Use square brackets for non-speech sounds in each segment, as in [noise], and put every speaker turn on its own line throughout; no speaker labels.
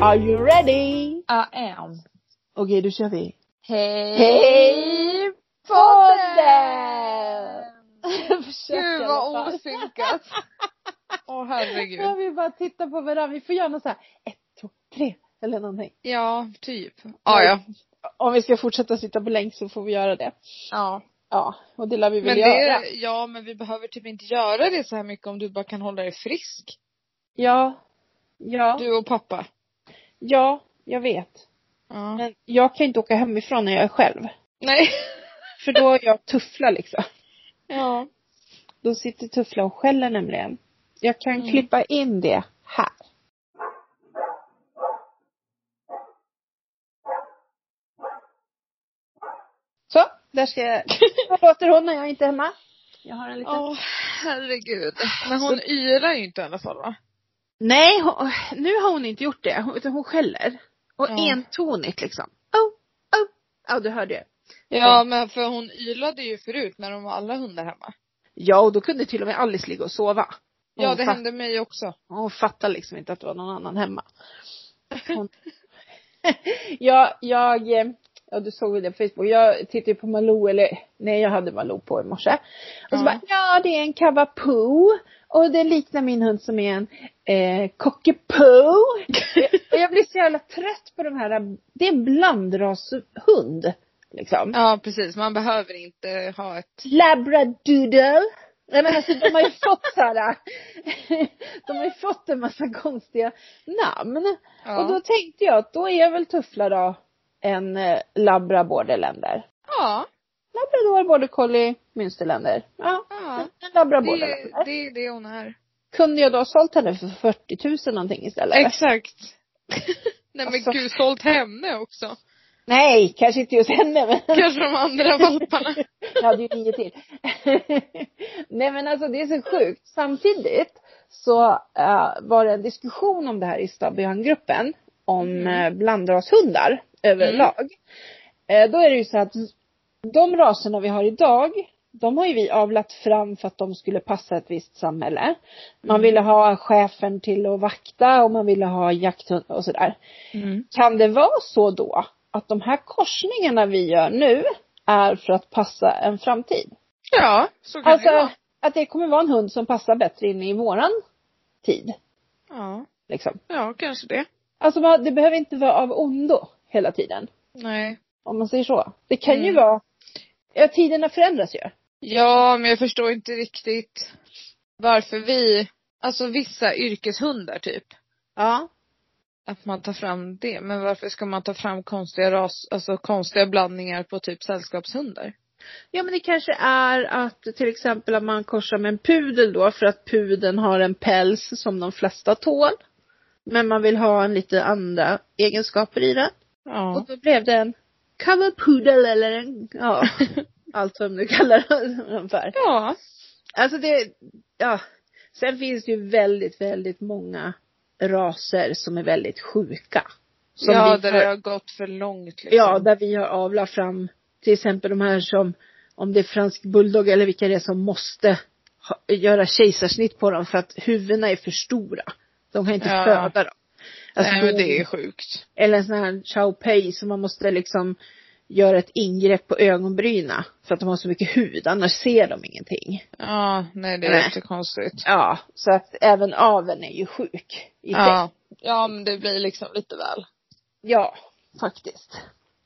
Are you ready?
I am.
Okej, då kör vi.
Hej!
Hej podden! [laughs] Försök i
Gud
alla
vad
fall.
[laughs] osynkat. Åh
Ja,
herregud.
vi bara tittar på varandra. Vi får göra något så här, ett, två, tre eller någonting.
Ja, typ. Ah, ja.
Om vi ska fortsätta sitta på länk så får vi göra det.
ja.
Ja, och det lär vi väl
Men det,
göra.
är- ja men vi behöver typ inte göra det så här mycket om du bara kan hålla dig frisk.
Ja. Ja.
Du och pappa.
Ja, jag vet.
Ja.
Men jag kan inte åka hemifrån när jag är själv.
Nej.
För då är jag tuffla liksom.
[laughs] Ja.
Då sitter Tuffla och skäller nämligen. Jag kan
Mm.
klippa in det här. Så, där ska
[laughs]
jag... Vad låter hon när jag inte är hemma? Jag har en liten...
Åh herregud. Men hon yrar ju inte i alla fall va?
Nej, hon, nu har hon inte gjort det. Utan hon skäller. Och
Ja.
entonigt liksom. Oh, oh. Ja, du hörde ju.
Ja men för hon ylade ju förut när de var alla hundar hemma.
Ja, och då kunde till och med Alice ligga och sova.
Ja
Hon
det
fatt-
hände mig också.
Och Hon fattar liksom inte att det var någon annan hemma. [laughs] Hon... jag, jag, eh, ja du såg väl det på Facebook. Jag tittade ju på Malou, eller nej jag hade Malou på i morse. Och så
Ja.
bara, ja det är en cavapoo. Och det liknar min hund som är en eh, [laughs] cockapoo. och jag blir så jävla trött på de här, det är en blandrashund. Liksom.
Ja precis, man behöver inte ha ett
Labradoodle. Nej men alltså de har ju fått så här, [laughs] de har ju fått en massa konstiga namn.
Ja.
Och då tänkte jag att då är väl Tuffla då en eh, labra borderländer.
Ja.
Labrador, border collie, münsterländer. Ja,
Ja.
en- en labra
Det, är-
borderländer.
det är det hon är.
Kunde jag då ha sålt henne för 40 000 någonting istället?
Exakt. [laughs] Nej men
Alltså.
gud, sålt henne också.
Nej, kanske inte just henne men
Kanske de [laughs] andra valparna.
Jag hade ju nio till. [laughs] Nej men alltså det är så sjukt. Samtidigt så eh, var det en diskussion om det här i Stabian-gruppen om
Mm.
eh, blandrashundar överlag. Eh, då är det ju så att de raserna vi har idag, de har ju vi avlat fram för att de skulle passa ett visst samhälle. Man
Mm.
ville ha chefen till att vakta och man ville ha jakthund och sådär.
Mm.
Kan det vara så då att de här korsningarna vi gör nu är för att passa en framtid?
Ja, så kan det
Alltså
vara.
att det kommer vara en hund som passar bättre in i våran tid.
Ja.
Liksom.
ja, kanske det.
Alltså man- det behöver inte vara av ondo hela tiden.
Nej.
Om man säger så. Det kan ju
Mm.
vara, ja tiderna förändras ju.
Ja, men jag förstår inte riktigt varför vi, alltså vissa yrkeshundar typ,
Ja.
att man tar fram det. Men varför ska man ta fram konstiga ras, alltså konstiga blandningar på typ sällskapshundar?
Ja men det kanske är att till exempel att man korsar med en pudel då för att pudeln har en päls som de flesta tål. Men man vill ha en lite andra egenskaper i den. Och
Ja.
då blev det en cover poodle eller en,
[laughs]
ja, allt vad de nu kallar dem för.
Ja.
Alltså det, ja. Sen finns det ju väldigt, väldigt många raser som är väldigt sjuka. Som
ja,
vi
där
har-
det har gått för långt liksom.
Ja, där vi har avlat fram till exempel de här som, om det är fransk bulldog eller vilka det är som måste ha, göra kejsarsnitt på dem för att huvudena är för stora. De kan inte
Ja.
föda dem. Alltså,
Nej men
då-
det är sjukt.
Eller en sån här chow pei som man måste liksom göra ett ingrepp på ögonbryna för att de har så mycket hud, annars ser de ingenting.
Ja, nej det är
Nej.
jättekonstigt.
Ja, så att även aveln är ju sjuk i sig.
Ja. Ja men det blir liksom lite väl.
Ja, faktiskt.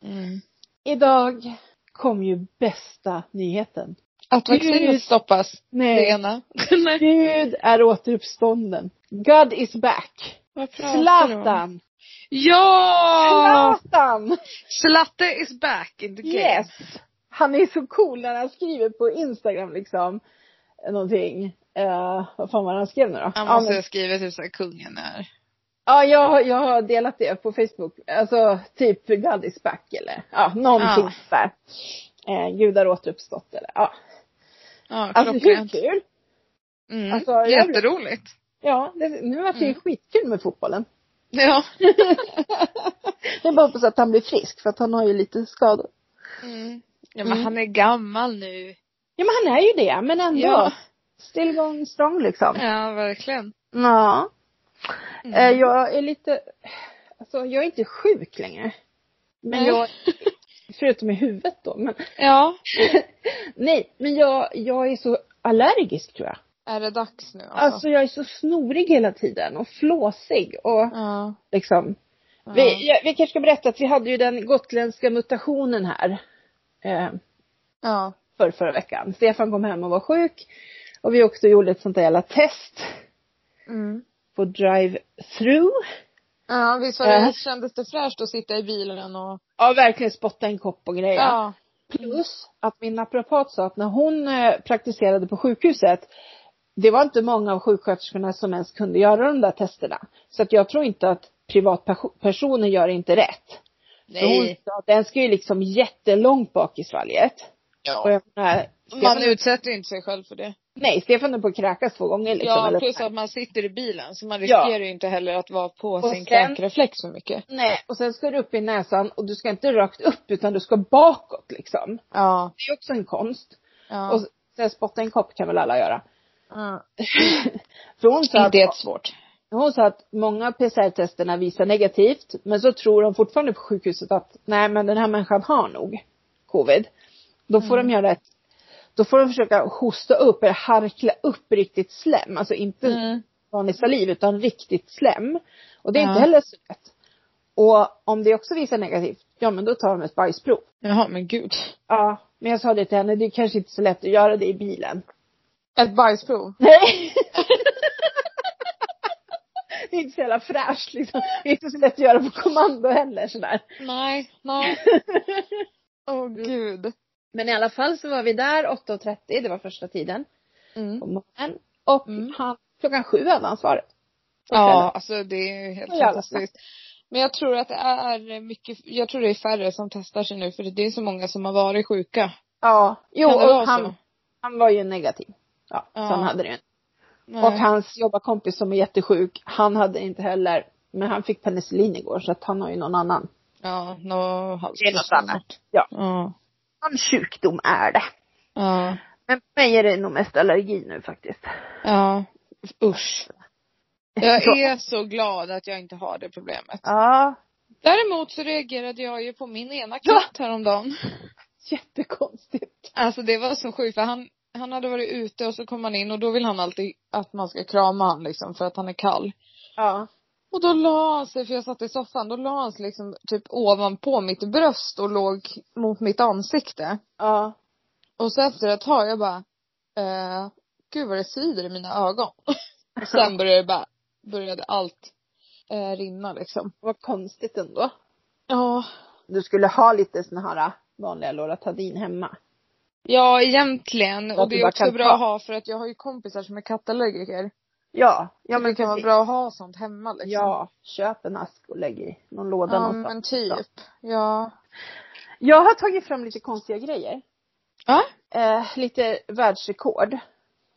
Mm.
Idag kom ju bästa nyheten.
Att vaccinet
Gud.
stoppas.
Nej.
Det ena. nej.
Gud är återuppstånden. God is back.
Vad pratar du om?
Zlatan.
Ja!
Zlatan!
Zlatte is back in the game.
Yes! Han är så cool när han skriver på Instagram liksom. Någonting. Eh, vad fan var det han skrev nu då?
Han
Ja,
måste
men-
ha skrivit typ såhär, kungen är.
Ja, jag, har- jag har delat det på Facebook. Alltså typ God is back eller ja, någonting
Ja.
där. Eh, Gudar återuppstått eller ja.
Ja,
Alltså hur
klockrent.
kul?
Mm.
Alltså, jag blev-
Jätteroligt.
Ja, det, nu vart det ju
Mm.
skitkul med
[laughs]
fotbollen.
Ja.
Jag bara hoppas att han blir frisk för att han har ju lite skador.
Mm. Ja men
Mm.
han är gammal nu.
Ja men han är ju det, men ändå.
Ja.
Still going strong liksom.
Ja, verkligen.
Ja.
Mm.
Eh, Jag är Eh, lite, alltså jag är inte sjuk längre. Men
Nej.
jag, förutom i huvudet då, men
Mm. Ja.
nej, men jag, jag är så allergisk tror jag.
Är det dags nu
Alltså jag är så snorig hela tiden och flåsig och
Ja.
liksom.
ja.
Vi, ja, vi kanske ska berätta att vi hade ju den gotländska mutationen här. Eh,
Ja.
för förra veckan. Stefan kom hem och var sjuk. Och vi också gjorde ett sånt där jävla test
Mm.
på drive-through.
Ja, visst var det,
Ja.
kändes det fräscht att sitta i bilen och
Ja, verkligen spotta en kopp och grejer.
ja.
Plus att min naprapat sa att när hon eh, praktiserade på sjukhuset, det var inte många av sjuksköterskorna som ens kunde göra de där testerna. Så att jag tror inte att privatpersoner gör inte rätt. Så hon
Nej.
sa att den ska ju liksom jättelångt bak i svalget. Och
Ja.
jag menar,
Man
Stefan,
utsätter ju inte sig själv för det.
nej, Stefan är på att kräkas två gånger liksom.
Ja,
eller
plus
så här.
att man sitter i bilen så man
Ja.
riskerar ju inte heller att vara på
Och sen-
sin kräkreflex för mycket.
Nej, och sen ska du upp i näsan och du ska inte rakt upp utan du ska bakåt liksom.
Ja.
Det är också en konst.
ja.
Och sen spotta i en kopp kan väl alla göra.
ja.
För hon sa, att,
Inte jättesvårt.
hon sa att många PCR-testerna visar negativt men så tror de fortfarande på sjukhuset att nej men den här människan har nog covid. Då får
Mm.
de göra ett, då får de försöka hosta upp eller harkla upp riktigt slem, alltså inte
Mm.
vanlig saliv utan riktigt slem. Och det är
Ja.
inte heller så lätt. Och om det också visar negativt, ja men då tar de ett bajsprov.
Jaha, men gud.
Ja, men jag sa det till henne, det är kanske inte så lätt att göra det i bilen.
Ett bajsprov?
Nej! [laughs] det är inte så jävla fräscht liksom. Det är inte så lätt att göra på kommando heller sådär.
Nej,
[laughs]
nej. Åh oh, gud.
Men i alla fall så var vi där 8.30, det var första tiden
Mm.
på morgonen. Och
Mm.
han, klockan sju hade han svaret. På
Ja,
kvällen.
alltså det är ju helt
Så jävla
fantastiskt. Men jag tror att det är mycket, jag tror det är färre som testar sig nu för det är så många som har varit sjuka.
Ja, jo,
Kan det vara
och han,
så?
han var ju negativ. Ja,
Ja.
så han hade det ju.
Nej.
Och hans jobbarkompis som är jättesjuk, han hade inte heller, men han fick penicillin igår så att han har ju någon annan.
Ja, nå hals.
Det är något annat. Ja.
Ja.
Någon sjukdom är det.
Ja.
Men för mig är det nog mest allergi nu faktiskt.
Ja. Usch.
[laughs]
Jag
Så.
är så glad att jag inte har det problemet.
Ja,
Däremot så reagerade jag ju på min ena katt häromdagen.
jättekonstigt.
Alltså det var så sjukt för han, han hade varit ute och så kom han in och då vill han alltid att man ska krama han liksom för att han är kall.
Ja.
Och då la han sig, för jag satt i soffan, då la han sig liksom typ ovanpå mitt bröst och låg mot mitt ansikte.
Ja.
Och så efter ett tag jag bara, eh, gud vad det svider i mina ögon.
Alltså,
Och Sen började det bara, började allt eh, rinna liksom.
Vad konstigt ändå.
Ja.
Du skulle ha lite såna här vanliga Loratadin hemma.
Ja egentligen.
Att
Och
du
det är
bara
också
kan
bra
ta.
att ha för att jag har ju kompisar som är kattallergiker.
Ja. Ja
Ja men det kan vara
precis.
bra att ha sånt hemma liksom.
Ja, köp en ask och lägg i någon låda
Ja
någonstans.
men typ. Ja.
Jag har tagit fram lite konstiga grejer.
Ja.
Eh, lite världsrekord.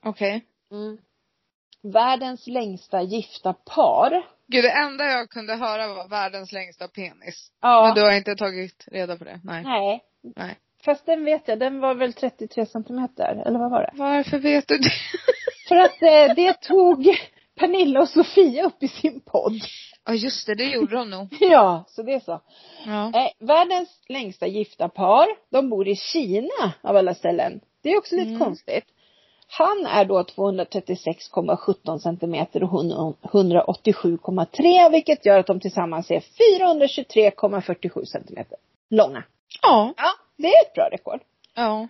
Okej.
Mm. Världens längsta gifta par.
Gud det enda jag kunde höra var världens längsta penis.
Ja.
Men du har inte tagit reda på det? Nej.
Nej.
Nej.
Fast den vet jag, den var väl 33 centimeter, eller vad var det?
Varför vet du det? [laughs]
För att eh, det tog Pernilla och Sofia upp i sin podd.
Ja just det, det gjorde de nog.
Ja, så det är så.
Ja.
Eh, världens längsta gifta par, de bor i Kina av alla ställen. Det är också lite
Mm.
konstigt. Han är då 236,17 centimeter och hon 187,3 vilket gör att de tillsammans är 423,47 centimeter långa.
Ja.
Ja, det är ett bra rekord.
ja.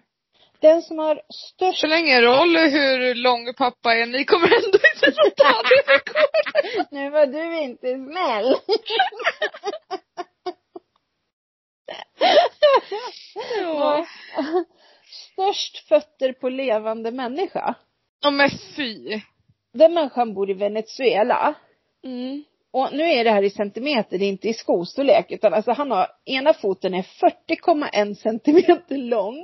Den som har störst [laughs]
Så länge roll hur lång pappa är, ni kommer ändå inte få ta det rekordet.
Nu var du inte snäll.
Ja.
Störst fötter på levande människa.
ja men fy.
Den människan bor i Venezuela.
Mm.
Och nu är det här i centimeter, det är inte i skostorlek. Utan alltså han har, ena foten är 40,1 centimeter lång.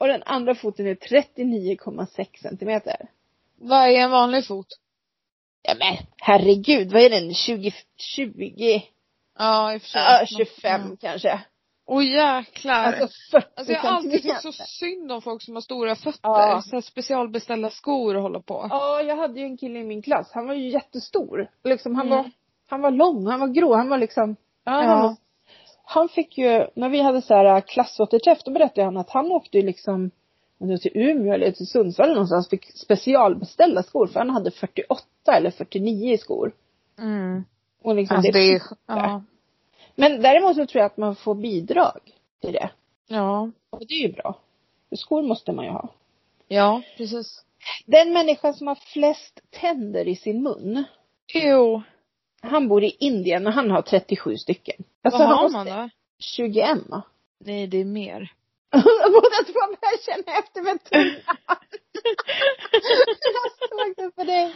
Och den andra foten är 39,6 centimeter.
Vad är en vanlig fot?
Ja men herregud, vad är den? 20, 20,
Ja i och för sig.
ja, 25
Mm.
kanske.
Åh jäklar.
Alltså
Alltså,
40
jag har alltid tyckt så
centimeter.
synd om folk som har stora fötter.
Ja.
Så här specialbeställda skor och hålla på.
Ja, jag hade ju en kille i min klass. Han var ju jättestor. Liksom, han
Mm.
var Han var lång, han var grå, han var liksom, ja, Han,
Ja.
var- han fick ju, när vi hade så här äh, klassåterträff, då berättade han att han åkte ju liksom om det var till Umeå eller till Sundsvall eller någonstans, fick specialbeställa skor för han hade 48 eller 49 i skor.
Mm.
Och liksom
Alltså det är ju,
Ja.
ja.
Men däremot så tror jag att man får bidrag till det.
Ja.
Och det är ju bra. För skor måste man ju ha.
Ja, precis.
Den människan som har flest tänder i sin mun,
Jo.
han bor i Indien och han har 37 stycken.
Vad har
Alltså, han
man då?
21 va?
Nej, det är mer.
Båda två börjar känna efter med tungan. Jag såg det på dig.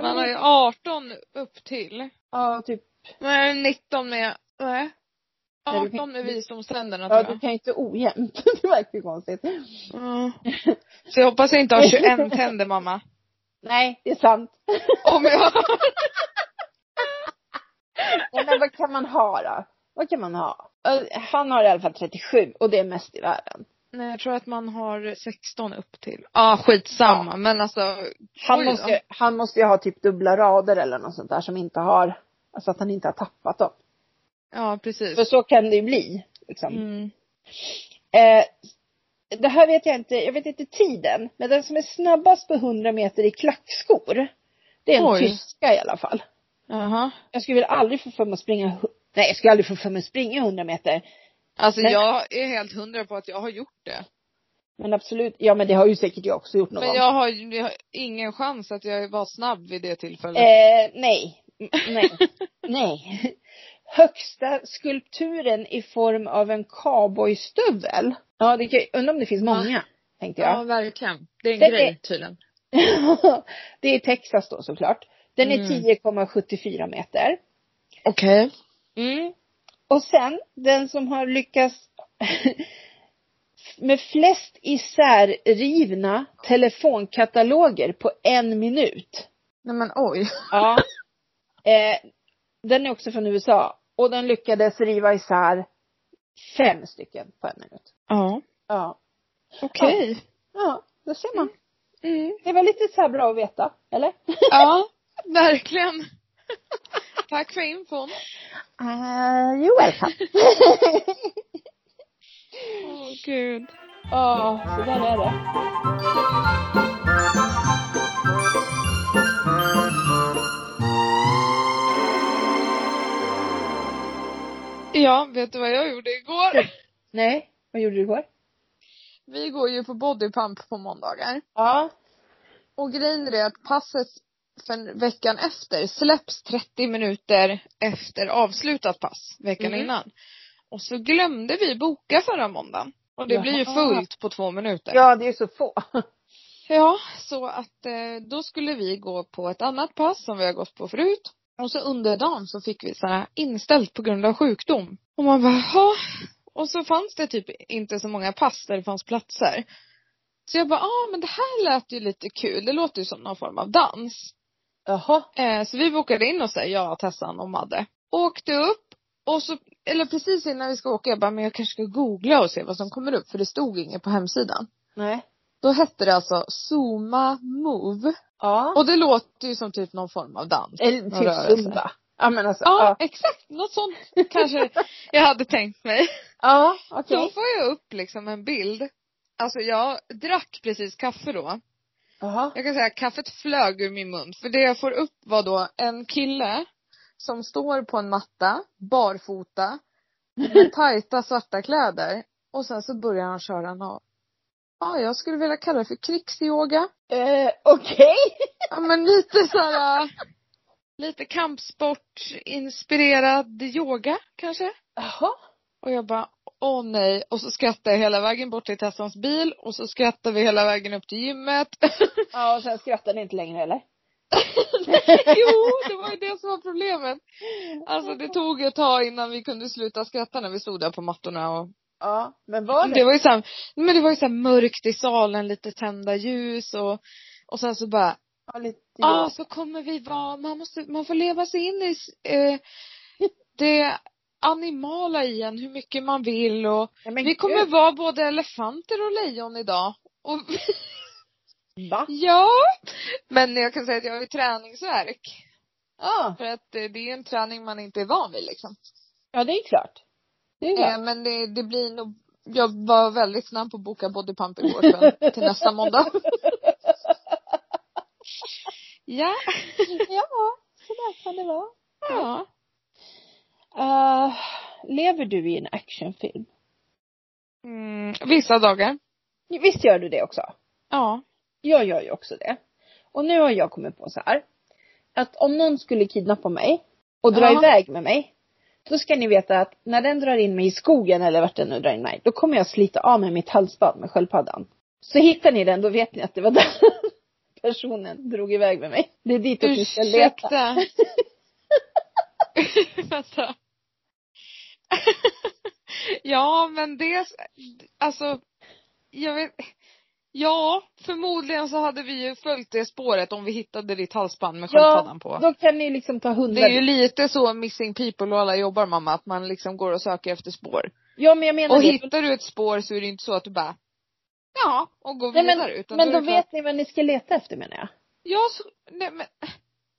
Man har ju 18 upp till.
Ja, typ.
Nej, 19 med, nej.
Nej, du
18
kan-
med visdomständerna
Ja,
tror
du
jag.
kan ju inte ojämnt. [laughs] Det verkar ju konstigt.
Ja. Så jag hoppas jag
[laughs]
inte har 21 tänder mamma.
Nej, det är sant.
Om jag
Nej, men vad kan man ha då? Vad kan man ha? Eh, Han har i alla fall 37 och det är mest i världen.
Nej, jag tror att man har 16 upp till. Ja, skitsamma. Men alltså,
Han
Oj då.
måste, ju- han måste ju ha typ dubbla rader eller något sånt där som inte har, alltså att han inte har tappat dem.
ja
För
precis.
så kan det ju bli. Liksom.
Mm.
Eh, det här vet jag inte, jag vet inte tiden, men den som är snabbast på 100 meter i klackskor, det är en
Oj.
tyska i alla fall.
Jaha.
Jag skulle väl aldrig få för mig att springa, hu- nej jag skulle aldrig få för mig att springa 100 meter.
Alltså
Men-
jag är helt hundra på att jag har gjort det.
Men absolut, ja men det har ju säkert jag också gjort någon
Men
gång.
jag har, ju- jag har ingen chans att jag var snabb vid det tillfället.
Eh, nej. Mm,
[laughs]
Nej. nej. Högsta skulpturen i form av en cowboystövel. Ja, det kan, undrar om det finns många, tänkte jag.
verkligen. Det är en
Det är- grej,
tydligen.
det är i Texas då såklart. Den är
Mm.
10,74 meter.
Okej.
Mm. Och sen, den som har lyckats [laughs] med flest isärrivna telefonkataloger på en minut.
Nej men oj.
Ja. Eh, den är också från USA. Och den lyckades riva isär fem stycken på en minut.
Ja.
Ja.
Okej.
Ja, då ser man.
Mm.
Det var lite så här bra att veta, eller?
Ja, verkligen. [laughs] Tack för infon.
Uh, you're welcome. [laughs]
Åh gud.
Ja, så där är det.
Ja, vet du vad jag gjorde igår?
Nej, vad gjorde du igår?
Vi går ju på bodypump på måndagar.
Ja.
Och grejen är det att passet för veckan efter släpps 30 minuter efter avslutat pass veckan
Mm.
innan. Och så glömde vi boka förra måndagen. Och det blir ju
Jaha.
fullt på två minuter.
Ja, det är ju så få. [laughs]
Ja, så att eh, då skulle vi gå på ett annat pass som vi har gått på förut. Och så under dagen så fick vi så här inställt på grund av sjukdom. Och man bara, "Jaha." Och så fanns det typ inte så många pass där det fanns platser. Så jag bara, ja ah, men det här lät ju lite kul. Det låter ju som någon form av dans.
Jaha.
Eh, så vi bokade in oss där, jag, Tessan och Madde. Åkte upp och så, eller precis innan vi ska åka, jag bara, men jag kanske ska googla och se vad som kommer upp för det stod inget på hemsidan.
Nej.
Då hette det alltså Zuma Move.
Ja.
Och det låter ju som typ någon form av dans.
Eller
någon
typ
rörelse.
Zumba. Ja, men alltså.
Ja,
Ja.
exakt. Något sånt kanske jag hade tänkt [laughs] mig.
Ja, okej.
Då får jag upp liksom en bild. Alltså jag drack precis kaffe då.
Jaha.
Jag kan säga att kaffet flög ur min mun. För det jag får upp var då en kille som står på en matta, barfota, [laughs] med tajta svarta kläder. Och sen så börjar han köra något, ja jag skulle vilja kalla det för krigsyoga.
Eh, okej.
Ja men lite såhär, lite kampsportinspirerad yoga kanske.
Jaha.
Och jag bara, åh nej. Och så skrattar jag hela vägen bort till Tessans bil och så skrattar vi hela vägen upp till gymmet. [laughs]
Ja, och sen skrattar ni inte längre eller?
jo, det var ju det som var problemet. Alltså det tog ett tag innan vi kunde sluta skratta när vi stod där på mattorna och
Ja, men var det?
det var ju såhär, men det var ju såhär mörkt i salen, lite tända ljus och och sen så bara,
Ja, lite.
ja ah, så kommer vi vara, man måste, man får leva sig in i s- eh, det animala i en hur mycket man vill och
Nej, men
vi kommer
gud.
vara både elefanter och lejon idag. Och
Va?
[laughs] Ja. Men jag kan säga att jag har ju träningsvärk.
Ja.
För att eh, det är en träning man inte är van vid liksom.
Ja, det är klart. Det är
Eh,
klart.
men det, det blir nog, jag var väldigt snabb på att boka bodypump igår sen, till nästa [laughs] måndag. ja.
Ja, så där kan det vara.
ja.
Eh, lever du i en actionfilm?
Mm, vissa dagar.
Visst gör du det också?
Ja.
Jag gör ju också det. Och nu har jag kommit på så här. Att om någon skulle kidnappa mig och dra
Ja.
iväg med mig. Då ska ni veta att när den drar in mig i skogen eller vart den nu drar in mig. Då kommer jag slita av mig mitt halsband med sköldpaddan. Så hittar ni den, då vet ni att det var den [laughs] personen drog iväg med mig. Det är dit ni ska leta.
Ursäkta. [laughs] Vänta. [laughs] ja, men det, alltså, jag vet, ja, förmodligen så hade vi ju följt det spåret om vi hittade ditt halsband med
Ja,
sköldpaddan på.
då kan ni liksom ta hundar.
Det är ju lite så missing people och alla jobbar mamma, att man liksom går och söker efter spår.
Ja, men jag menar
Och
det.
hittar du ett spår så är det inte så att du bara, ja, och går
Nej,
vidare.
men,
utan
men
är
då
det klart-
vet ni vad ni ska leta efter menar jag.
Ja, så, nej men,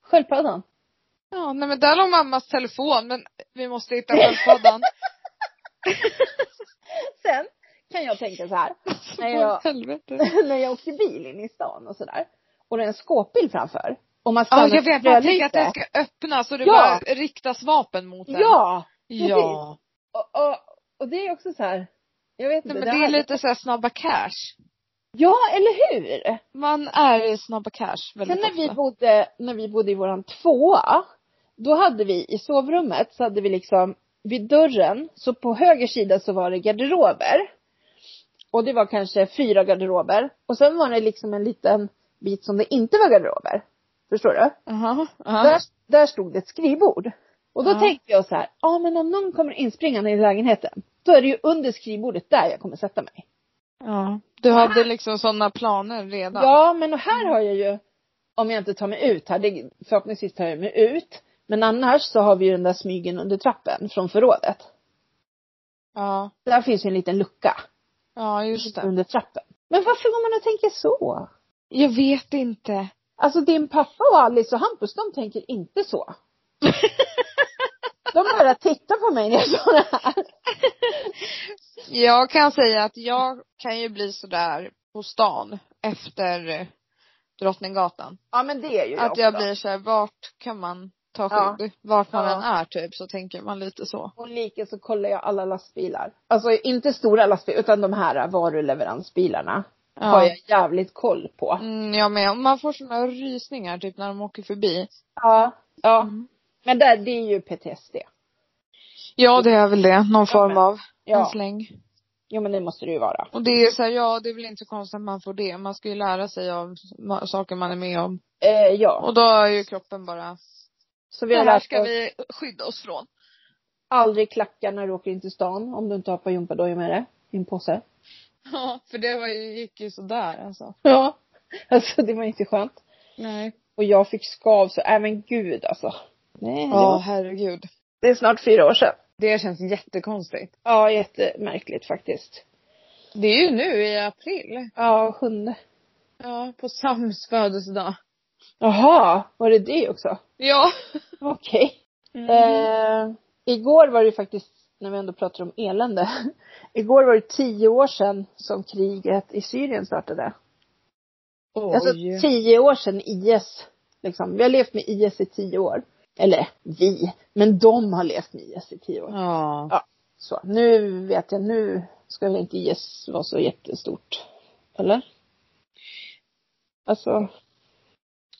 Sköldpaddan.
ja, nej men där låg mammas telefon, men vi måste hitta
[laughs]
sköldpaddan.
Sen kan jag tänka så här.
Så
Nej,
vad
jag-
i helvete.
[laughs] när jag åkte bil in i stan och sådär. Och det är en skåpbil framför. Och man
Ja,
stannar
jag vet,
för
jag tänker att den
rödlyse.
ska öppnas och det
Ja.
bara riktas vapen mot den.
Ja!
Ja.
Och, och, och det är också så här. Jag vet inte.
Nej, men
det
det är
hade-
lite såhär snabba cash.
Ja, eller hur?
Man är i snabba cash väldigt
Sen när vi
ofta.
bodde, när vi bodde i våran tvåa. Då hade vi i sovrummet så hade vi liksom vid dörren, så på höger sida så var det garderober. Och det var kanske fyra garderober. Och sen var det liksom en liten bit som det inte var garderober. Förstår du?
Aha,
där,
aha.
där stod det ett skrivbord. Och då
Ja.
tänkte jag så här, ja men om någon kommer inspringande i lägenheten, då är det ju under skrivbordet där jag kommer sätta mig.
Ja. Du hade liksom sådana planer redan.
Ja, men och här har jag ju, om jag inte tar mig ut här, det, förhoppningsvis tar jag mig ut. Men annars så har vi ju den där smygen under trappen från förrådet.
Ja,
Där finns ju en liten lucka
ja just det.
under trappen. Men varför går man och tänker så?
Jag vet inte.
Alltså din pappa och Alice och Hampus, de tänker inte så. De bara tittar på mig när jag sa det här.
Jag kan säga att jag kan ju bli sådär på stan efter eh, Drottninggatan.
Ja men det är ju
Att jag blir såhär, vart kan man ta
Ja.
skydd? Vart man
Ja.
än är typ, så tänker man lite så.
Och lika så kollar jag alla lastbilar. Alltså inte stora lastbilar utan de här varuleveransbilarna. Har
Ja.
jag jävligt koll på.
Mm, jag med. Och Man får såna rysningar typ när de åker förbi.
Ja. Ja.
Mm.
Men där, det är ju PTSD.
Ja det är väl det, någon form
men-
av en
Ja.
släng.
Jo men det måste det ju vara.
Och det är så här, ja det är väl inte så konstigt att man får det. Man ska ju lära sig av ma- saker man är med om.
Eh, ja.
Och då är ju kroppen bara,
Så vi
det
har
här
lärt
ska
oss
vi skydda oss från. [laughs]
aldrig klacka när du åker in till stan om du inte har på gympadojor med dig. I en påse.
Ja, för det var, ju- gick ju sådär alltså.
Ja. [laughs] Alltså det var inte skönt.
Nej.
Och jag fick skav så, nej men gud alltså. Nej. det
Ja,
var-
herregud.
Det är snart fyra år sedan.
Det känns jättekonstigt.
Ja jättemärkligt faktiskt.
Det är ju nu i april.
Ja, sjunde.
Ja, på Sams födelsedag.
Jaha, var det det också?
Ja.
Okej.
Mm.
Eh, igår var det ju faktiskt, när vi ändå pratar om elände. [laughs] igår var det tio år sedan som kriget i Syrien startade.
Oj.
Alltså tio år sedan IS. Liksom. Vi har levt med IS i tio år. Eller vi, men de har levt med IS i tio år.
ja.
Så nu vet jag, nu ska väl inte IS vara så jättestort. Eller? Alltså,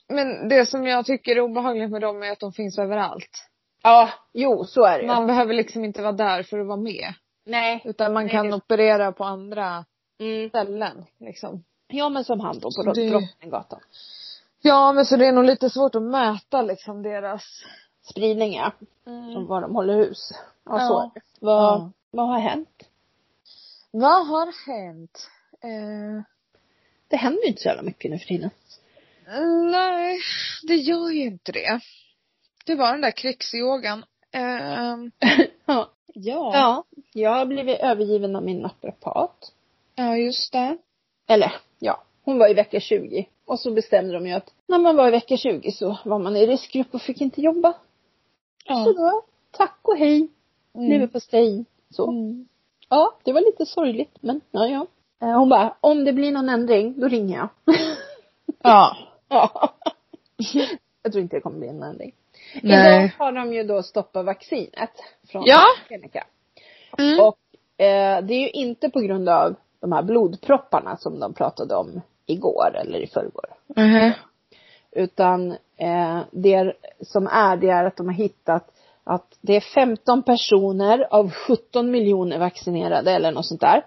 Men det som jag tycker är obehagligt med dem är att de finns överallt.
ja, jo så är det ju.
Man behöver liksom inte vara där för att vara med.
Nej.
Utan man
Nej,
kan
det-
operera på andra
Mm.
ställen liksom.
Ja men som han då på
Det-
Drottninggatan.
Ja, men så det är nog lite svårt att mäta liksom deras...
Spridning ja.
Mm.
Som var de håller hus. Ja,
Ja.
så är det. Vad,
Ja.
vad har hänt?
Vad har hänt? Eh...
Det händer ju inte så jävla mycket nu för tiden.
Nej, det gör ju inte det. Det var den där krigsyogan. Ehm,
Ja.
ja. ja.
ja. Jag har blivit övergiven av min naprapat.
just det.
Eller ja, Hon var i vecka 20. Och så bestämde de ju att när man var i vecka 20 så var man i riskgrupp och fick inte jobba. Så då, tack och hej. Leverpastej. Så.
Mm.
Ja, det var lite sorgligt, men ja, ja. Eh, Hon bara, om det blir någon ändring, då ringer jag. [laughs]
Ja.
Ja. [laughs] Jag tror inte det kommer bli en ändring.
Nej.
Idag har de ju då stoppat vaccinet från
Ja.
AstraZeneca.
Mm.
Och eh, det är ju inte på grund av de här blodpropparna som de pratade om igår eller i förrgår.
Mhm.
Utan eh, det är- som är, det är att de har hittat att det är 15 personer av 17 miljoner vaccinerade eller något sånt där.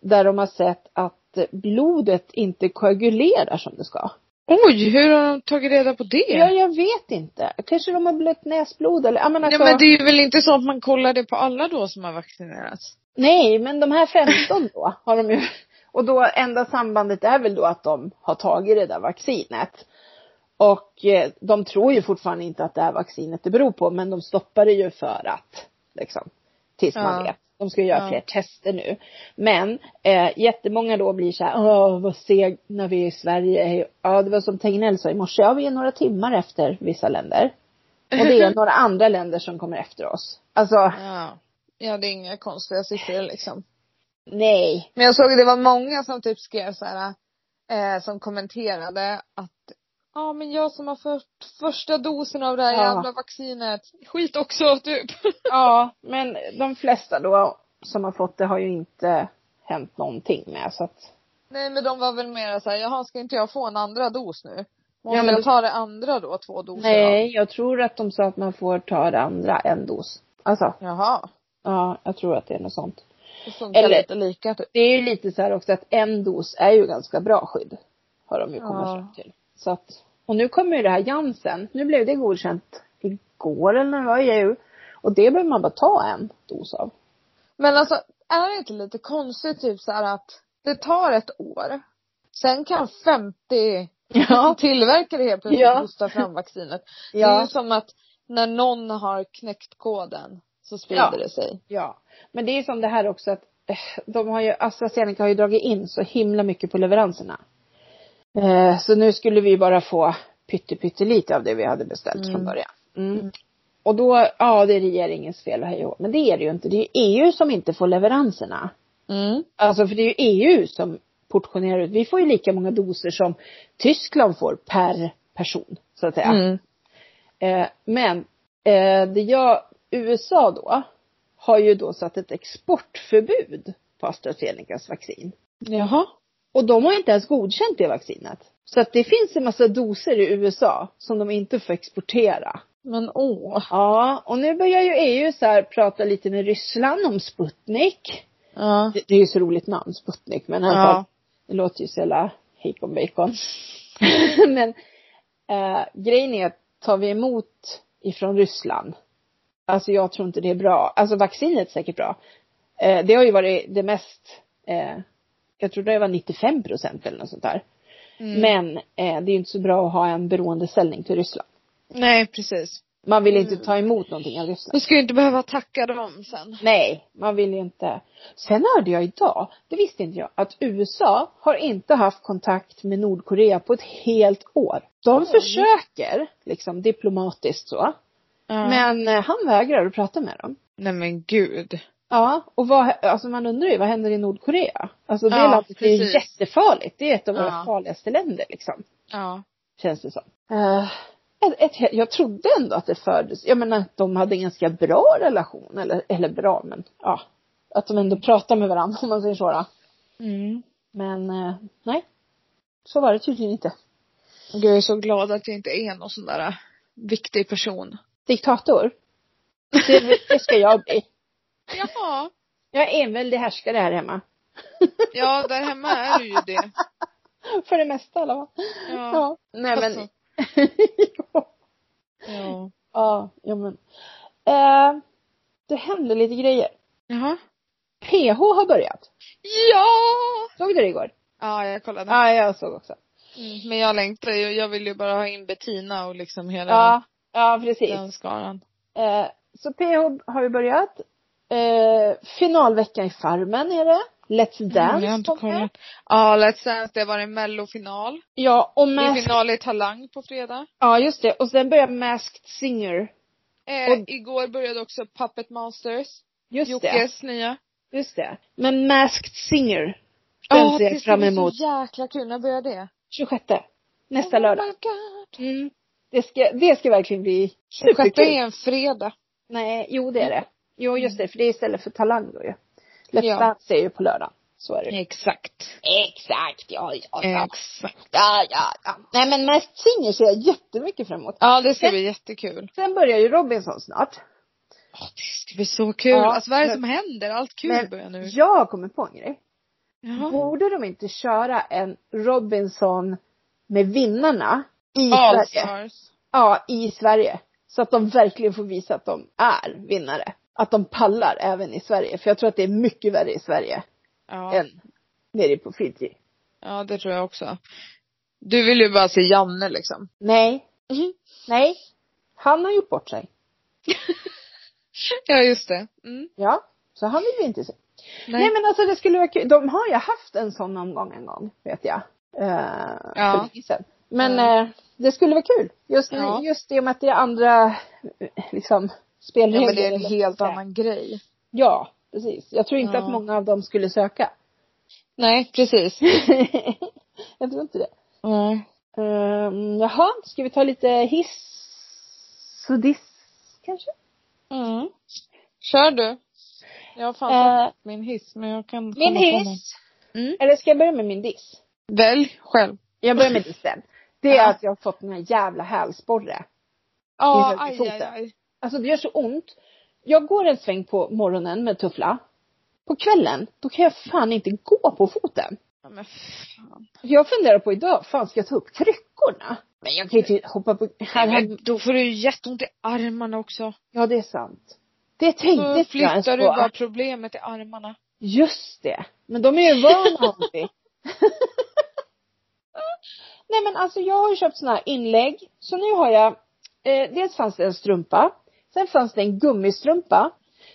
Där de har sett att blodet inte koagulerar som det ska.
Oj, hur har de tagit reda på det?
Ja, jag vet inte. Kanske de har blött näsblod eller, ja, men alltså,
Nej men det är väl inte så att man kollar det på alla då som har vaccinerats?
nej, men de här 15 då har de ju. Och då enda sambandet är väl då att de har tagit det där vaccinet. Och eh, de tror ju fortfarande inte att det här vaccinet det beror på, men de stoppar det ju för att liksom tills man
Ja.
vet. De ska ju göra
Ja.
fler tester nu. Men eh, jättemånga då blir så här, åh vad seg när vi är i Sverige. Ja, det var som Tegnell sa i morse, ja vi är några timmar efter vissa länder. Och det
[laughs]
är några andra länder som kommer efter oss. Alltså,
Ja. Ja, det är inga konstiga siffror liksom.
nej.
Men jag såg att det var många som typ skrev så här, eh, som kommenterade att ja men jag som har fått första dosen av det här
Ja.
jävla vaccinet, skit också typ.
Ja, men de flesta då som har fått det har ju inte hänt någonting med så att.
Nej men de var väl mera såhär, jaha ska inte jag få en andra dos nu? Måste
Ja, men
jag
det-
ta det andra då, två doser av?
Nej, jag tror att de sa att man får ta det andra, en dos. Alltså,
Jaha.
ja, jag tror att det är något sånt.
Det funkar
Eller-
lite lika typ.
Det är ju lite så här också att en dos är ju ganska bra skydd. Har de ju kommit
Ja.
fram till. Så att, och nu kommer ju det här Janssen. Nu blev det godkänt igår eller när det var i EU. Och det behöver man bara ta en dos av.
Men alltså, är det inte lite konstigt typ så här att det tar ett år. Sen kan 50
Ja.
[laughs] tillverkare helt plötsligt
Ja.
hosta fram [laughs] vaccinet. Det är
Ja.
ju som att när någon har knäckt koden så sprider
Ja.
det sig.
Ja, men det är som det här också att eh, de har ju, AstraZeneca har ju dragit in så himla mycket på leveranserna. Eh, så nu skulle vi bara få pytte pyttelite av det vi hade beställt från
Mm.
början. Mm. Och då, ja det är regeringens fel och hej och hå. Men det är det ju inte. Det är ju EU som inte får leveranserna.
Mm.
Alltså för det är ju EU som portionerar ut. Vi får ju lika många doser som Tyskland får per person, så att säga.
Mm.
Eh, men eh, det jag, USA då har ju då satt ett exportförbud på AstraZenecas vaccin.
Jaha.
Och de har inte ens godkänt det vaccinet. Så att det finns en massa doser i USA som de inte får exportera.
Men åh.
Ja, och nu börjar ju EU så här prata lite med Ryssland om Sputnik.
Ja.
Det, det är ju så roligt namn, Sputnik, men i alla fall,
Ja.
det låter ju så jävla hejkon bacon. [laughs] men eh, grejen är att tar vi emot ifrån Ryssland, alltså jag tror inte det är bra, alltså vaccinet är säkert bra. Eh, det har ju varit det mest, eh, jag tror det var 95 procent eller något sånt där.
Mm.
Men eh, det är ju inte så bra att ha en beroendeställning till Ryssland.
Nej precis.
Man vill
Mm.
inte ta emot någonting av Ryssland.
Du ska ju inte behöva tacka dem sen.
Nej, man vill ju inte. Sen hörde jag idag, det visste inte jag, att USA har inte haft kontakt med Nordkorea på ett helt år. De
Oj.
försöker, liksom diplomatiskt så,
Ja.
men eh, han vägrar att prata med dem.
Nej men gud.
Ja, och vad, alltså man undrar ju, vad händer i Nordkorea? Alltså det
Ja,
landet är ju
precis.
jättefarligt, det är ett av våra
Ja.
farligaste länder liksom,
Ja.
känns det som. Eh, ett, ett, he- jag trodde ändå att det fördes, jag menar att de hade en ganska bra relation, eller, eller bra men ja, att de ändå pratar med varandra [laughs] om man säger så då.
Mm.
Men eh, nej. Så var det tydligen inte.
Gud, jag är så glad att jag inte är någon sån där viktig person.
Diktator. Det, det ska jag bli.
Jaha.
Jag är en väldig härskare här hemma.
Ja, där hemma är du ju det.
För det mesta i alla fall.
Ja.
Ja. Nej men.
Alltså. ja.
[laughs] ja, ja men. Eh, det hände lite grejer.
Jaha.
PH har börjat.
Ja!
Såg du det igår?
Ja, jag kollade.
Ja, jag såg också.
Mm, men jag längtar ju. Jag vill ju bara ha in Bettina och liksom hela
Ja, ja precis.
den skaran.
Eh, så PH har ju börjat. Eh, finalvecka i Farmen är det. Let's
Mm, jag har
Dance
inte
kommer.
kollat. Ja, Let's Dance, det var en mellofinal.
Ja, och
Det är
Masked,
final i Talang på fredag.
ja just det. Och sen börjar Masked Singer.
Eh,
Och-
Igår började också Puppet Masters.
Just det.
Jockes nya.
Just det. Men Masked Singer, den ser jag fram
det ska bli
emot.
så jäkla kul. När börjar det?
26. Nästa
Oh my
lördag.
God.
Mm. Det ska, det ska verkligen bli
26
superkul.
är en fredag.
Nej, jo det är det. Jo just det, för det är istället för Talang då ju. Let's
Ja.
Dance är ju på lördag. Så är det.
Exakt.
Exakt, ja, ja,
Eh, Exakt.
ja, ja, ja. Nej men Masked Singer ser jag jättemycket fram emot.
Ja, det ska bli jättekul.
Sen börjar ju Robinson snart.
Ja, det ska bli så kul.
Ja,
alltså vad är det
men-
som händer? Allt kul
men-
börjar nu.
Jag har kommit på en grej.
Jaha.
Borde de inte köra en Robinson med vinnarna i
All
Sverige?
stars.
Ja, i Sverige. Så att de verkligen får visa att de är vinnare. Att de pallar även i Sverige. För jag tror att det är mycket värre i Sverige
Ja.
än nere på Fiji.
ja, det tror jag också. Du vill ju bara se Janne [laughs] liksom.
Nej. Nej. Han har gjort bort sig.
Ja, just det. Mm.
Ja. Så han vill vi inte se.
Nej.
Nej. men alltså det skulle vara kul. De har ju haft en sån omgång en gång, vet jag. Eh,
Ja.
för länge sedan. Men
Mm.
eh, det skulle vara kul. Just,
Ja.
just i och med att det är andra eh, liksom spelregler.
Ja, men det är en
eller-
helt annan grej.
Ja, precis. Jag tror inte
Ja.
att många av dem skulle söka. [laughs]
Nej, precis.
jag tror inte det.
Mm.
Um, jaha, ska vi ta lite hiss och diss kanske?
Mm. Kör du. Jag har fan
Eh,
tappat min hiss, men jag kan
Min
komma på någon.
hiss.
Mm.
Eller ska jag börja med min diss?
Välj själv.
Jag börjar med dissen. Det är
Ja.
att jag har fått den här jävla hälsporre.
Ja,
Hissen till
aj, aj,
foten.
aj.
Alltså det gör så ont. Jag går en sväng på morgonen med tuffla. På kvällen, då kan jag fan inte gå på foten.
Ja, men fan.
Jag funderar på idag, fan ska jag ta upp kryckorna? Men jag kan ju inte hoppa på, här, här.
Men då får du ju jätteont i armarna också.
Ja det är sant. Det tänkte
Då
inte jag ens
flyttar du
på.
bara problemet i armarna.
Just det. Men de är ju vana vid det. Nej men alltså jag har ju köpt såna här inlägg. Så nu har jag, eh, dels fanns det en strumpa. Sen fanns det en gummistrumpa.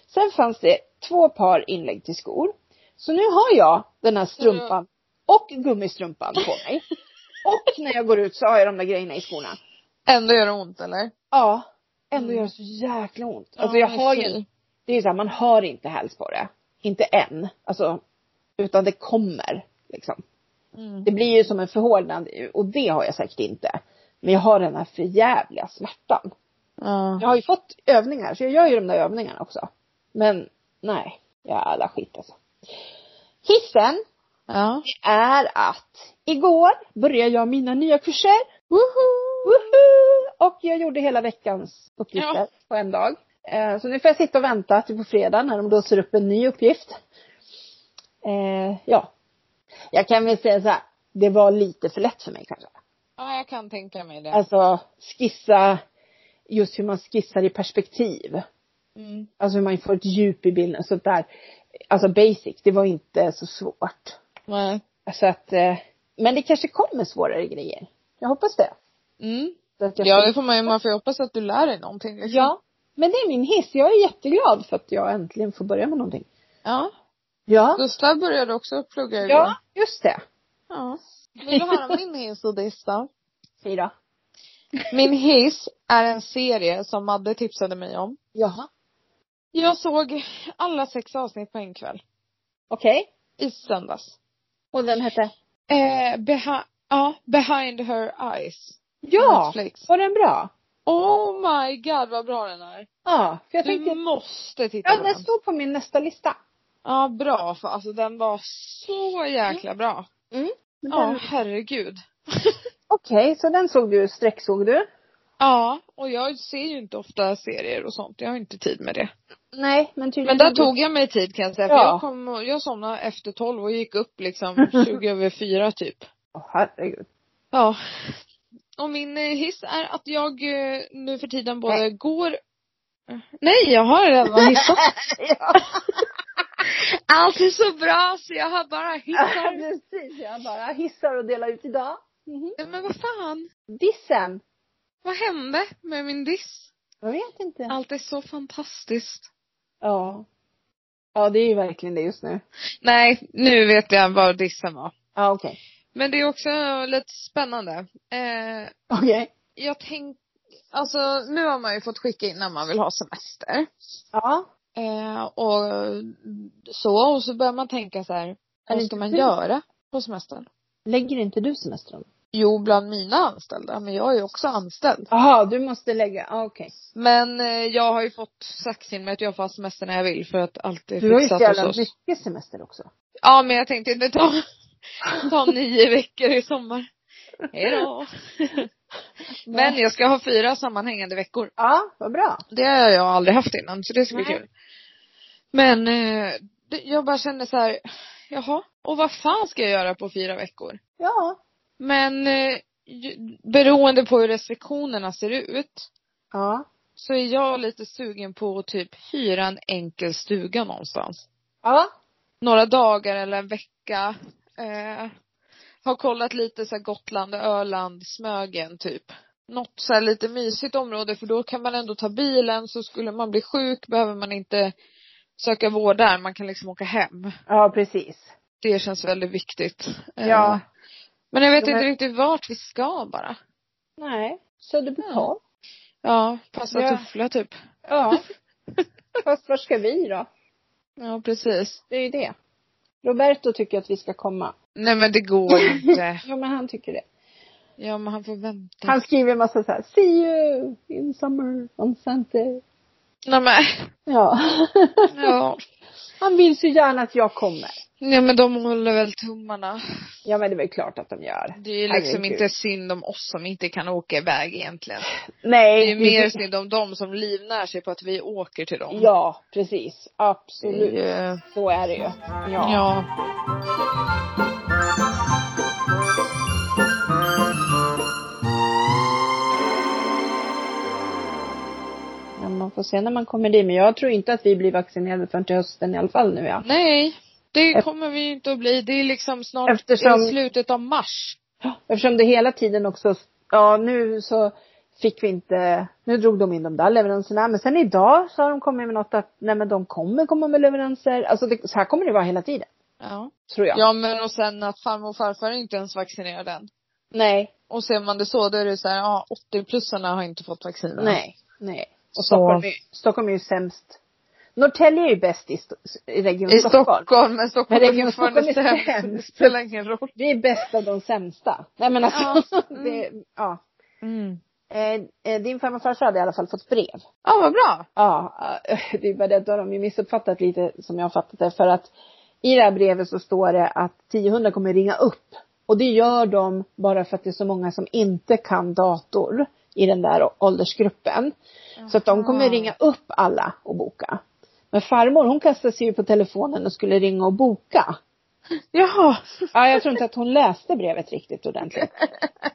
Sen fanns det två par inlägg till skor. Så nu har jag den här strumpan och gummistrumpan på mig. Och när jag går ut så har jag de där grejerna i skorna.
Ändå gör det ont eller?
Ja. Ändå
Mm.
gör det så jäkla ont. Alltså jag
Ja,
har
fy.
ju, det är ju så här, man har inte häls på det. Inte än. Alltså, utan det kommer liksom.
Mm.
Det blir ju som en förhårdnad och det har jag säkert inte. Men jag har den här förjävliga smärtan.
Ja.
Jag har ju fått övningar så jag gör ju de där övningarna också. Men nej, jävla skit alltså. Hissen
Ja.
är att igår började jag mina nya kurser. Woho! Woho! Och jag gjorde hela veckans uppgifter
Ja.
på en dag. Eh, Så nu får jag sitta och vänta till på fredag när de låser upp en ny uppgift. Eh, ja. Jag kan väl säga så här, det var lite för lätt för mig kanske.
ja, jag kan tänka mig det.
Alltså skissa, just hur man skissar i perspektiv.
Mm.
Alltså hur man får ett djup i bilden, sånt där. Alltså basic, det var inte så svårt.
Nej.
Så att, eh, men det kanske kommer svårare grejer. Jag hoppas det.
Mm.
Så att jag
Ja,
får-
det får man ju, man får ju hoppas att du lär dig någonting liksom.
ja. Men det är min hiss. Jag är jätteglad för att jag äntligen får börja med någonting.
Ja.
Ja.
Gustav började också plugga igår.
Ja, just det.
ja. Vill du höra min hiss och diss då?
Säg då.
[laughs] Min hiss är en serie som Madde tipsade mig om.
Jaha.
Jag såg alla sex avsnitt på en kväll.
Okej.
I söndags.
Och den hette?
Eh, behi- ja, behind her eyes.
Ja!
Netflix.
Var den bra?
Oh my god vad bra den är.
Ja, Mm. för jag
Du
tänkte,
måste titta
ja
på
den
den.
stod på min nästa lista.
Ja bra för alltså den var så jäkla bra.
Men
Mm. Ja
den-
herregud.
Okej, så den såg du, sträcksåg du?
Ja och jag ser ju inte ofta serier och sånt. Jag har inte tid med det.
Nej, men tydligen.
Men där tog jag mig tid kan jag säga. För
Ja.
jag kom och, jag somnade efter tolv och gick upp [laughs] liksom 20 över fyra typ.
Åh herregud.
Ja. Och min eh, hiss är att jag eh, nu för tiden både
Nej.
går... Nej, jag har [laughs] redan hissat.
[laughs] [laughs] ja,
Allt är så bra så jag har bara hissar.
precis. Jag bara hissar och delar ut idag. Mhm.
Nej, Men vad fan?
Dissen.
Vad hände med min diss?
Jag vet inte.
Allt är så fantastiskt.
Ja. Ja, det är ju verkligen det just nu.
Nej, nu vet jag vad dissen var.
Ja, okej.
Men det är också lite spännande. Eh,
Okej.
jag tänkte, alltså nu har man ju fått skicka in när man vill ha semester.
Ja.
Eh, och så, och så börjar man tänka så här, vad ska man göra på semestern?
Lägger inte du semestern?
Jo, bland mina anställda, men jag är ju också anställd.
Jaha, du måste lägga, ja, okej.
Men eh, jag har ju fått sagt till mig att jag får ha semester när jag vill för att allt är
Du har ju
fixat
så jävla
hos oss.
mycket semester också.
Ja, men jag tänkte inte ta, ta nio veckor
[laughs]
i sommar. Hejdå. Men jag ska ha fyra sammanhängande veckor.
Ja, vad bra.
Det har jag aldrig haft innan, så det ska bli
Nej.
kul. Men eh, det- jag bara känner så här, jaha, och vad fan ska jag göra på fyra veckor?
Ja.
Men eh, ju- beroende på hur restriktionerna ser ut
Ja.
så är jag lite sugen på att typ hyra en enkel stuga någonstans.
Ja.
Några dagar eller en vecka. Eh, har kollat lite så här Gotland, Öland, Smögen typ. Något så här lite mysigt område för då kan man ändå ta bilen så skulle man bli sjuk behöver man inte söka vård där, man kan liksom åka hem.
Ja, precis.
Det känns väldigt viktigt. Eh,
Ja.
Men jag vet
De här-
inte riktigt vart vi ska bara.
Nej. Söderbytorg.
Ja, passa
Ja.
tuffla typ.
Ja. Fast var ska vi då?
[laughs] Ja, precis.
Det är ju det. Roberto tycker att vi ska komma.
Nej men det
[laughs]
går inte.
Ja, men han tycker det.
Ja men han får vänta.
Han skriver en massa så här, see you in summer on Sunday.
Nej
[laughs]
men,
Ja.
ja.
Han vill så gärna att jag kommer.
Nej men de håller väl tummarna.
Ja, men det är väl klart att de gör.
Det är ju liksom
Herregud.
inte synd om oss som inte kan åka iväg egentligen. Det är
Nej.
ju mer synd om dem som livnär sig på att vi åker till dem.
Ja, precis.
Det är
Absolut.
ju-
Så är det ju. Ja.
ja.
ja. Man får se när man kommer dit. Men jag tror inte att vi blir vaccinerade förrän till hösten i alla fall nu ja.
Nej. Det
Eft-
kommer vi ju inte att bli. Det är liksom snart
Eftersom-
i slutet av mars.
Eftersom det hela tiden också, ja nu så fick vi inte, nu drog de in de där leveranserna. Men sen idag så har de kommit med något att, nej men de kommer komma med leveranser. Alltså det, så här kommer det vara hela tiden.
Ja.
Tror jag.
Ja men och sen att farmor och farfar är inte ens vaccinerade än.
Nej.
Och ser man det så, då är det så här, ja 80-plussarna har inte fått vaccin. än.
Nej. Nej. Och
Så-
Stockholm är, Stockholm är ju sämst. Norrtälje är ju bäst i, st- i region
I
Stockholm.
Stockholm, men Stockholm
Men
är
det är
fortfarande
Stockholm är
sämst. Det
sämst.
spelar ingen roll.
Vi är bäst av de sämsta. Nej men alltså,
Ja.
[laughs] det, ja.
Mm.
Eh, eh, din farmor och farfar hade i alla fall fått brev.
Ja, vad bra.
Ja, eh, [laughs] det är bara det att då har de ju missuppfattat lite som jag har fattat det för att i det här brevet så står det att 1000 kommer ringa upp och det gör de bara för att det är så många som inte kan dator i den där åldersgruppen. Så att de kommer
Jaha.
ringa upp alla och boka. Men farmor hon kastade sig ju på telefonen och skulle ringa och boka.
Jaha.
Ja, jag tror inte att hon läste brevet riktigt ordentligt.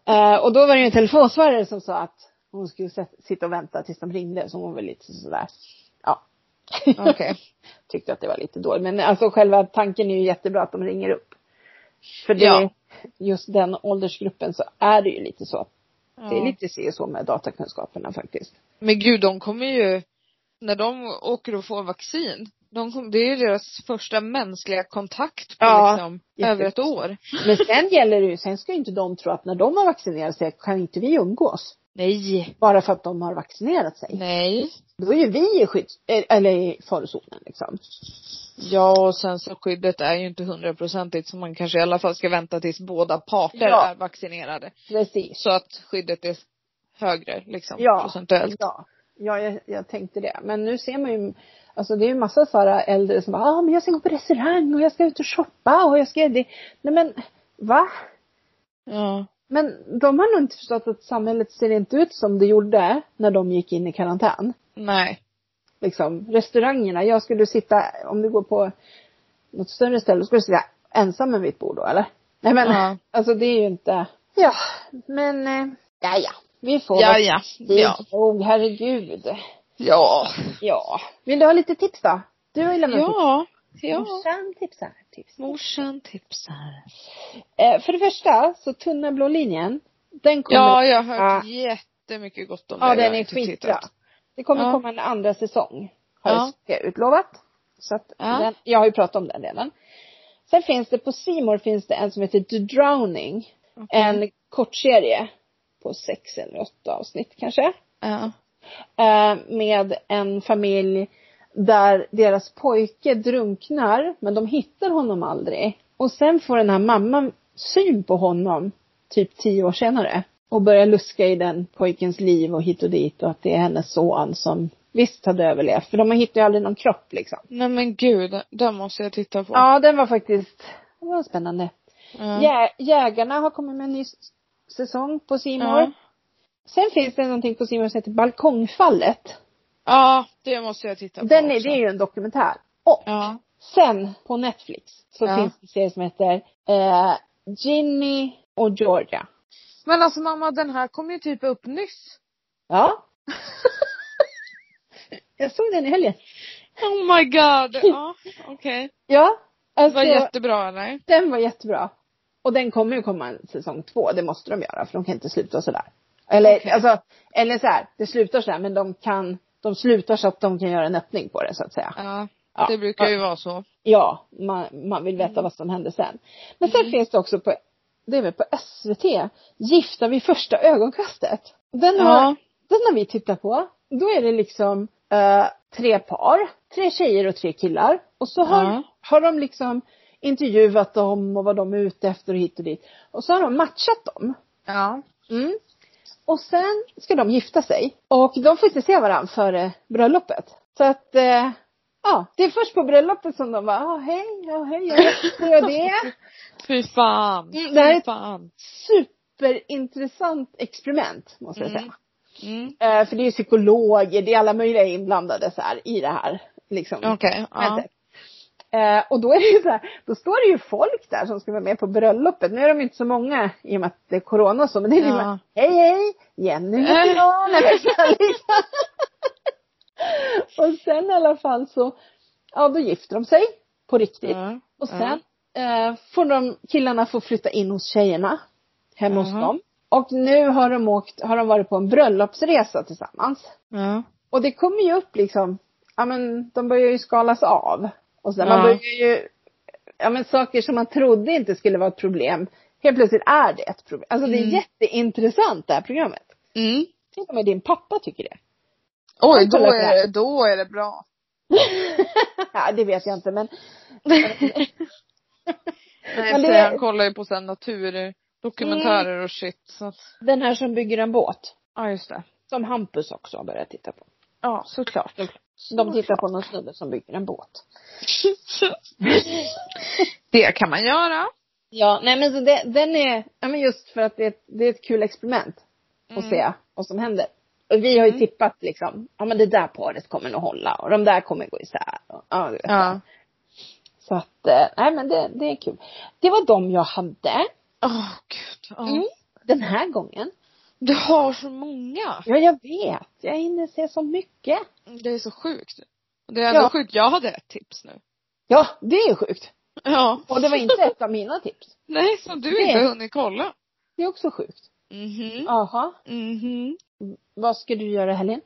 Eh, och då var det ju en telefonsvarare som sa att hon skulle sätt- sitta och vänta tills de ringde, så hon var väl lite sådär, ja.
Okej.
[laughs] Tyckte att det var lite dåligt. Men alltså själva tanken är ju jättebra att de ringer upp. För det,
Ja.
just den åldersgruppen så är det ju lite så. Det är
[laughs] Ja.
lite si och så med datakunskaperna faktiskt.
Men gud, de kommer ju, när de åker och får vaccin, de kom, det är ju deras första mänskliga kontakt på
Ja,
liksom,
jätte-
över ett år.
Men sen gäller det ju, sen ska ju inte de tro att när de har vaccinerat sig kan inte vi umgås.
Nej.
Bara för att de har vaccinerat sig.
Nej.
Då är ju vi i skydds, eh, eller i farozonen liksom.
Ja, och sen så skyddet är ju inte hundraprocentigt så man kanske i alla fall ska vänta tills båda parter
Ja.
är vaccinerade.
Precis.
Så att skyddet är högre liksom
Ja.
procentuellt.
Ja, ja jag, jag tänkte det. Men nu ser man ju, alltså det är ju massa så här äldre som bara, ah, men jag ska gå på restaurang och jag ska ut och shoppa och jag ska det. Nej men, va?
Ja.
Men de har nog inte förstått att samhället ser inte ut som det gjorde när de gick in i karantän.
Nej.
Liksom, restaurangerna, jag skulle sitta, om du går på något större ställe, skulle du sitta ensam vid ett bord då eller? Nej men,
Ja.
[laughs] alltså det är ju inte, ja, men, eh, ja ja, vi får
Ja,
väl-
ja.
Vi-
Ja.
Oh, herregud.
Ja.
Ja. Vill du ha lite tips då? Du har ju lämnat tips.
Ja. Ja.
Morsan tipsar. Tips.
Morsan tipsar.
Eh, för det första, så tunna blå linjen. Den kommer.
Ja, jag har hört
Ja.
jättemycket gott om
ja
det. Jag
den
har
är
inte
skitbra.
tittat.
Det kommer
Ja.
komma en andra säsong. Har
Ja.
jag utlovat. Så att
Ja.
den, jag har ju pratat om den redan. Sen finns det på Simor finns det en som heter The Drowning. En kortserie på sex eller åtta avsnitt kanske.
Ja.
Eh, med en familj där deras pojke drunknar men de hittar honom aldrig. Och sen får den här mamman syn på honom typ tio år senare och börjar luska i den pojkens liv och hit och dit och att det är hennes son som visst hade överlevt för de hittar ju aldrig någon kropp liksom.
Nej men gud, den måste jag titta på.
Ja, den var faktiskt, den var spännande.
Ja.
Jä- Jägarna har kommit med en ny s- säsong på Simor.
Ja.
Sen finns det någonting på Simor som heter Balkongfallet.
Ja, det måste jag titta på
Den är,
också.
det är ju en dokumentär. Och
Ja.
sen på Netflix så
Ja.
finns det en serie som heter eh, Ginny och Georgia.
Men alltså mamma, den här kom ju typ upp nyss.
Ja. jag såg den i helgen.
Oh
[laughs]
my god. Ja, okej.
Ja. Alltså,
Var jättebra eller?
den var jättebra. Och den kommer ju komma en säsong två, det måste de göra för de kan inte sluta sådär. Eller
Okej.
alltså, eller så här, det slutar sådär men de kan, de slutar så att de kan göra en öppning på det så att säga.
Ja.
Ja.
Det brukar ju vara så.
Ja, man, man vill veta
Mm.
vad som hände sen. Men sen finns det också på, det är väl på SVT, Gifta vid första ögonkastet. Den har,
Ja.
den har vi tittat på. Då är det liksom eh, tre par, tre tjejer och tre killar. Och så har,
Ja.
har de liksom intervjuat dem och vad de är ute efter och hit och dit. Och så har de matchat dem.
Ja.
Mm. Och sen ska de gifta sig. Och de får inte se varandra före bröllopet. Så att, eh, ja, det är först på bröllopet som de bara, ah, hej, ja hej, jag vet inte jag det.
Fy fan.
Mm, det här är-
Fy fan.
Superintressant experiment, måste jag
Mm.
säga.
Mm.
Eh, för det är ju psykologer, det är alla möjliga inblandade så här i det här. Liksom.
Okej. Ja.
momentet. Eh, och då är det ju så här, då står det ju folk där som ska vara med på bröllopet. Nu är de ju inte så många i och med att det är corona och så, men det är ju
Ja.
bara, hej hej, Jenny heter jag. Nej,
[laughs]
men så här liksom. [laughs] och sen i alla fall så, ja då gifter de sig på riktigt.
Ja.
Och sen eh, får de, killarna får flytta in hos tjejerna, hemma hos
Jaha.
dem. Och nu har de åkt, har de varit på en bröllopsresa tillsammans.
Ja.
Och det kommer ju upp liksom, ja men de börjar ju skalas av. Och sen
Ja.
man börjar ju, ja men saker som man trodde inte skulle vara ett problem, helt plötsligt är det ett problem. Alltså det är
Mm.
jätteintressant det här programmet.
Mm.
Till och med din pappa tycker det.
Oj,
Jag
då
kollar på det här.
är, då är det bra.
[laughs] ja, det vet jag inte men,
Nej,
Men det-
för han kollar ju på sen naturdokumentärer och shit. Så att,
den här som bygger en båt,
ja just det.
som Hampus också har börjat titta på.
Ja, såklart.
De tittar på någon snubbe som bygger en båt.
[laughs] det kan man göra.
Ja, nej men så det, den är, ja men just för att det, är ett- det är ett kul experiment att
Mm.
se vad som händer. Och vi har ju
Mm.
tippat liksom, ja men det där paret kommer nog hålla och de där kommer gå isär. Och, ja, du vet.
Ja.
Så att, eh, nej men det, det är kul. Det var de jag hade
Åh gud. Ja.
Mm. den här gången.
Du har så många.
Ja, jag vet. Jag hinner se så mycket.
Det är så sjukt. Det är ändå
Ja.
sjukt. Jag hade ett tips nu.
Ja, det är sjukt.
[laughs] Ja.
Och det var inte ett av mina tips.
Nej, som du
Det-
inte har hunnit kolla.
Det är också sjukt.
Mhm.
Jaha.
Mhm.
Vad ska du göra i helgen?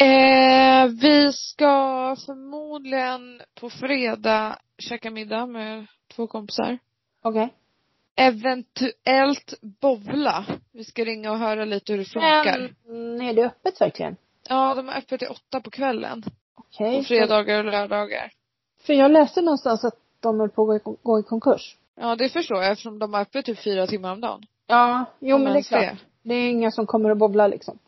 Eh, vi ska förmodligen på fredag käka middag med två kompisar.
Okej.
Eventuellt bowla. Vi ska ringa och höra lite hur det funkar.
Men, Ehm, är det öppet verkligen?
Ja, de är öppet till åtta på kvällen.
Okej.
På fredagar och lördagar.
För jag läste någonstans att de höll på att gå i- gå i konkurs.
Ja, det förstår jag eftersom de är öppet typ fyra timmar om dagen.
Ja, jo
Om
men det är
ens
klart. Det är inga som kommer och bobblar liksom.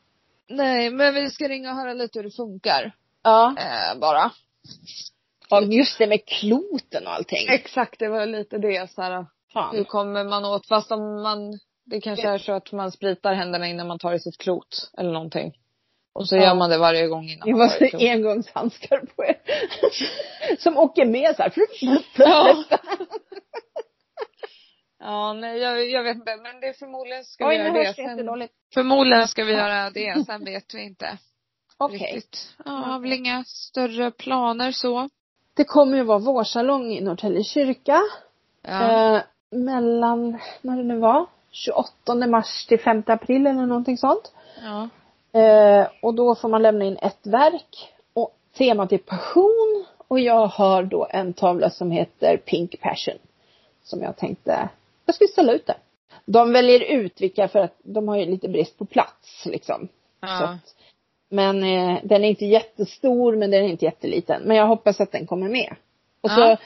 Nej, men vi ska ringa och höra lite hur det funkar.
Ja.
Eh, bara.
Ja just det med kloten och allting.
Exakt, Mm. det var lite det så här. Hur
Fan.
kommer man åt? Fast om man, det kanske är så att man spritar händerna innan man tar i sitt klot eller någonting. Och så
Ja.
gör man det varje gång innan
Jag
man tar
måste
i klot.
engångshandskar på er. [laughs] som åker med så här.
Ja. [laughs] ja, nej jag, jag vet inte. Men det förmodligen ska vi
Oj nu
göra
hörs
det.
det
Sen,
jättedåligt.
förmodligen ska vi
[laughs]
göra det, sen vet vi inte
Okej.
riktigt. Ja, har väl inga större planer så.
Det kommer ju vara vårsalong i Norrtälje kyrka.
Ja.
Eh, mellan, när det nu var, 28 mars till 5 april eller någonting sånt.
ja.
Eh, och då får man lämna in ett verk. Och temat är passion och jag har då en tavla som heter Pink Passion. Som jag tänkte, jag ska ställa ut det. De väljer ut vilka för att de har ju lite brist på plats liksom. Så
Ja.
att, men eh, den är inte jättestor men den är inte jätteliten. Men jag hoppas att den kommer med. Och så,
Ja.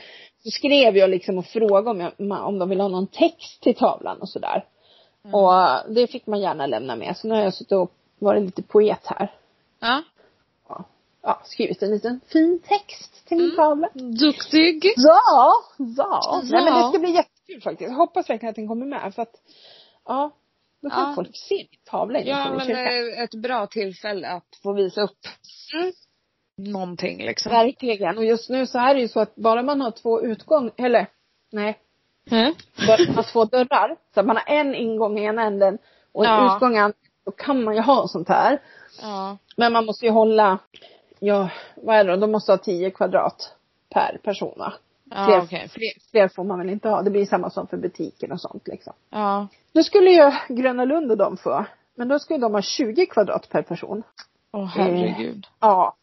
så skrev jag liksom och frågade om, jag, ma- om de vill ha någon text till tavlan och sådär.
Mm.
Och eh, det fick man gärna lämna med. Så nu har jag suttit och varit lite poet här.
ja.
Ja, skrivit en liten fin text till min
Mm.
tavla.
Duktig.
Ja, ja. Nej men det
Ja.
ska bli jättekul faktiskt. Jag hoppas verkligen att den kommer med för att ja, då kan
Ja.
folk se min tavla inne
Ja,
på min
men
kyrka.
eh, ett bra tillfälle att få visa upp
Mm.
någonting liksom.
Verkligen. Och just nu så är det ju så att bara man har två utgång, eller nej,
Mm.
bara man har två dörrar. Så att man har en ingång i ena änden och en
Ja.
utgång i andra. Då kan man ju ha sånt här.
Ja.
Men man måste ju hålla, ja, vad är det då? De måste ha 10 kvadrat per person va?
Ja,
Fler-
okej.
Fler, fler får man väl inte ha. Det blir samma som för butiken och sånt liksom.
Ja.
Nu skulle ju Gröna Lund och de få, men då skulle de ha 20 kvadrat per person.
Åh herregud.
Ja.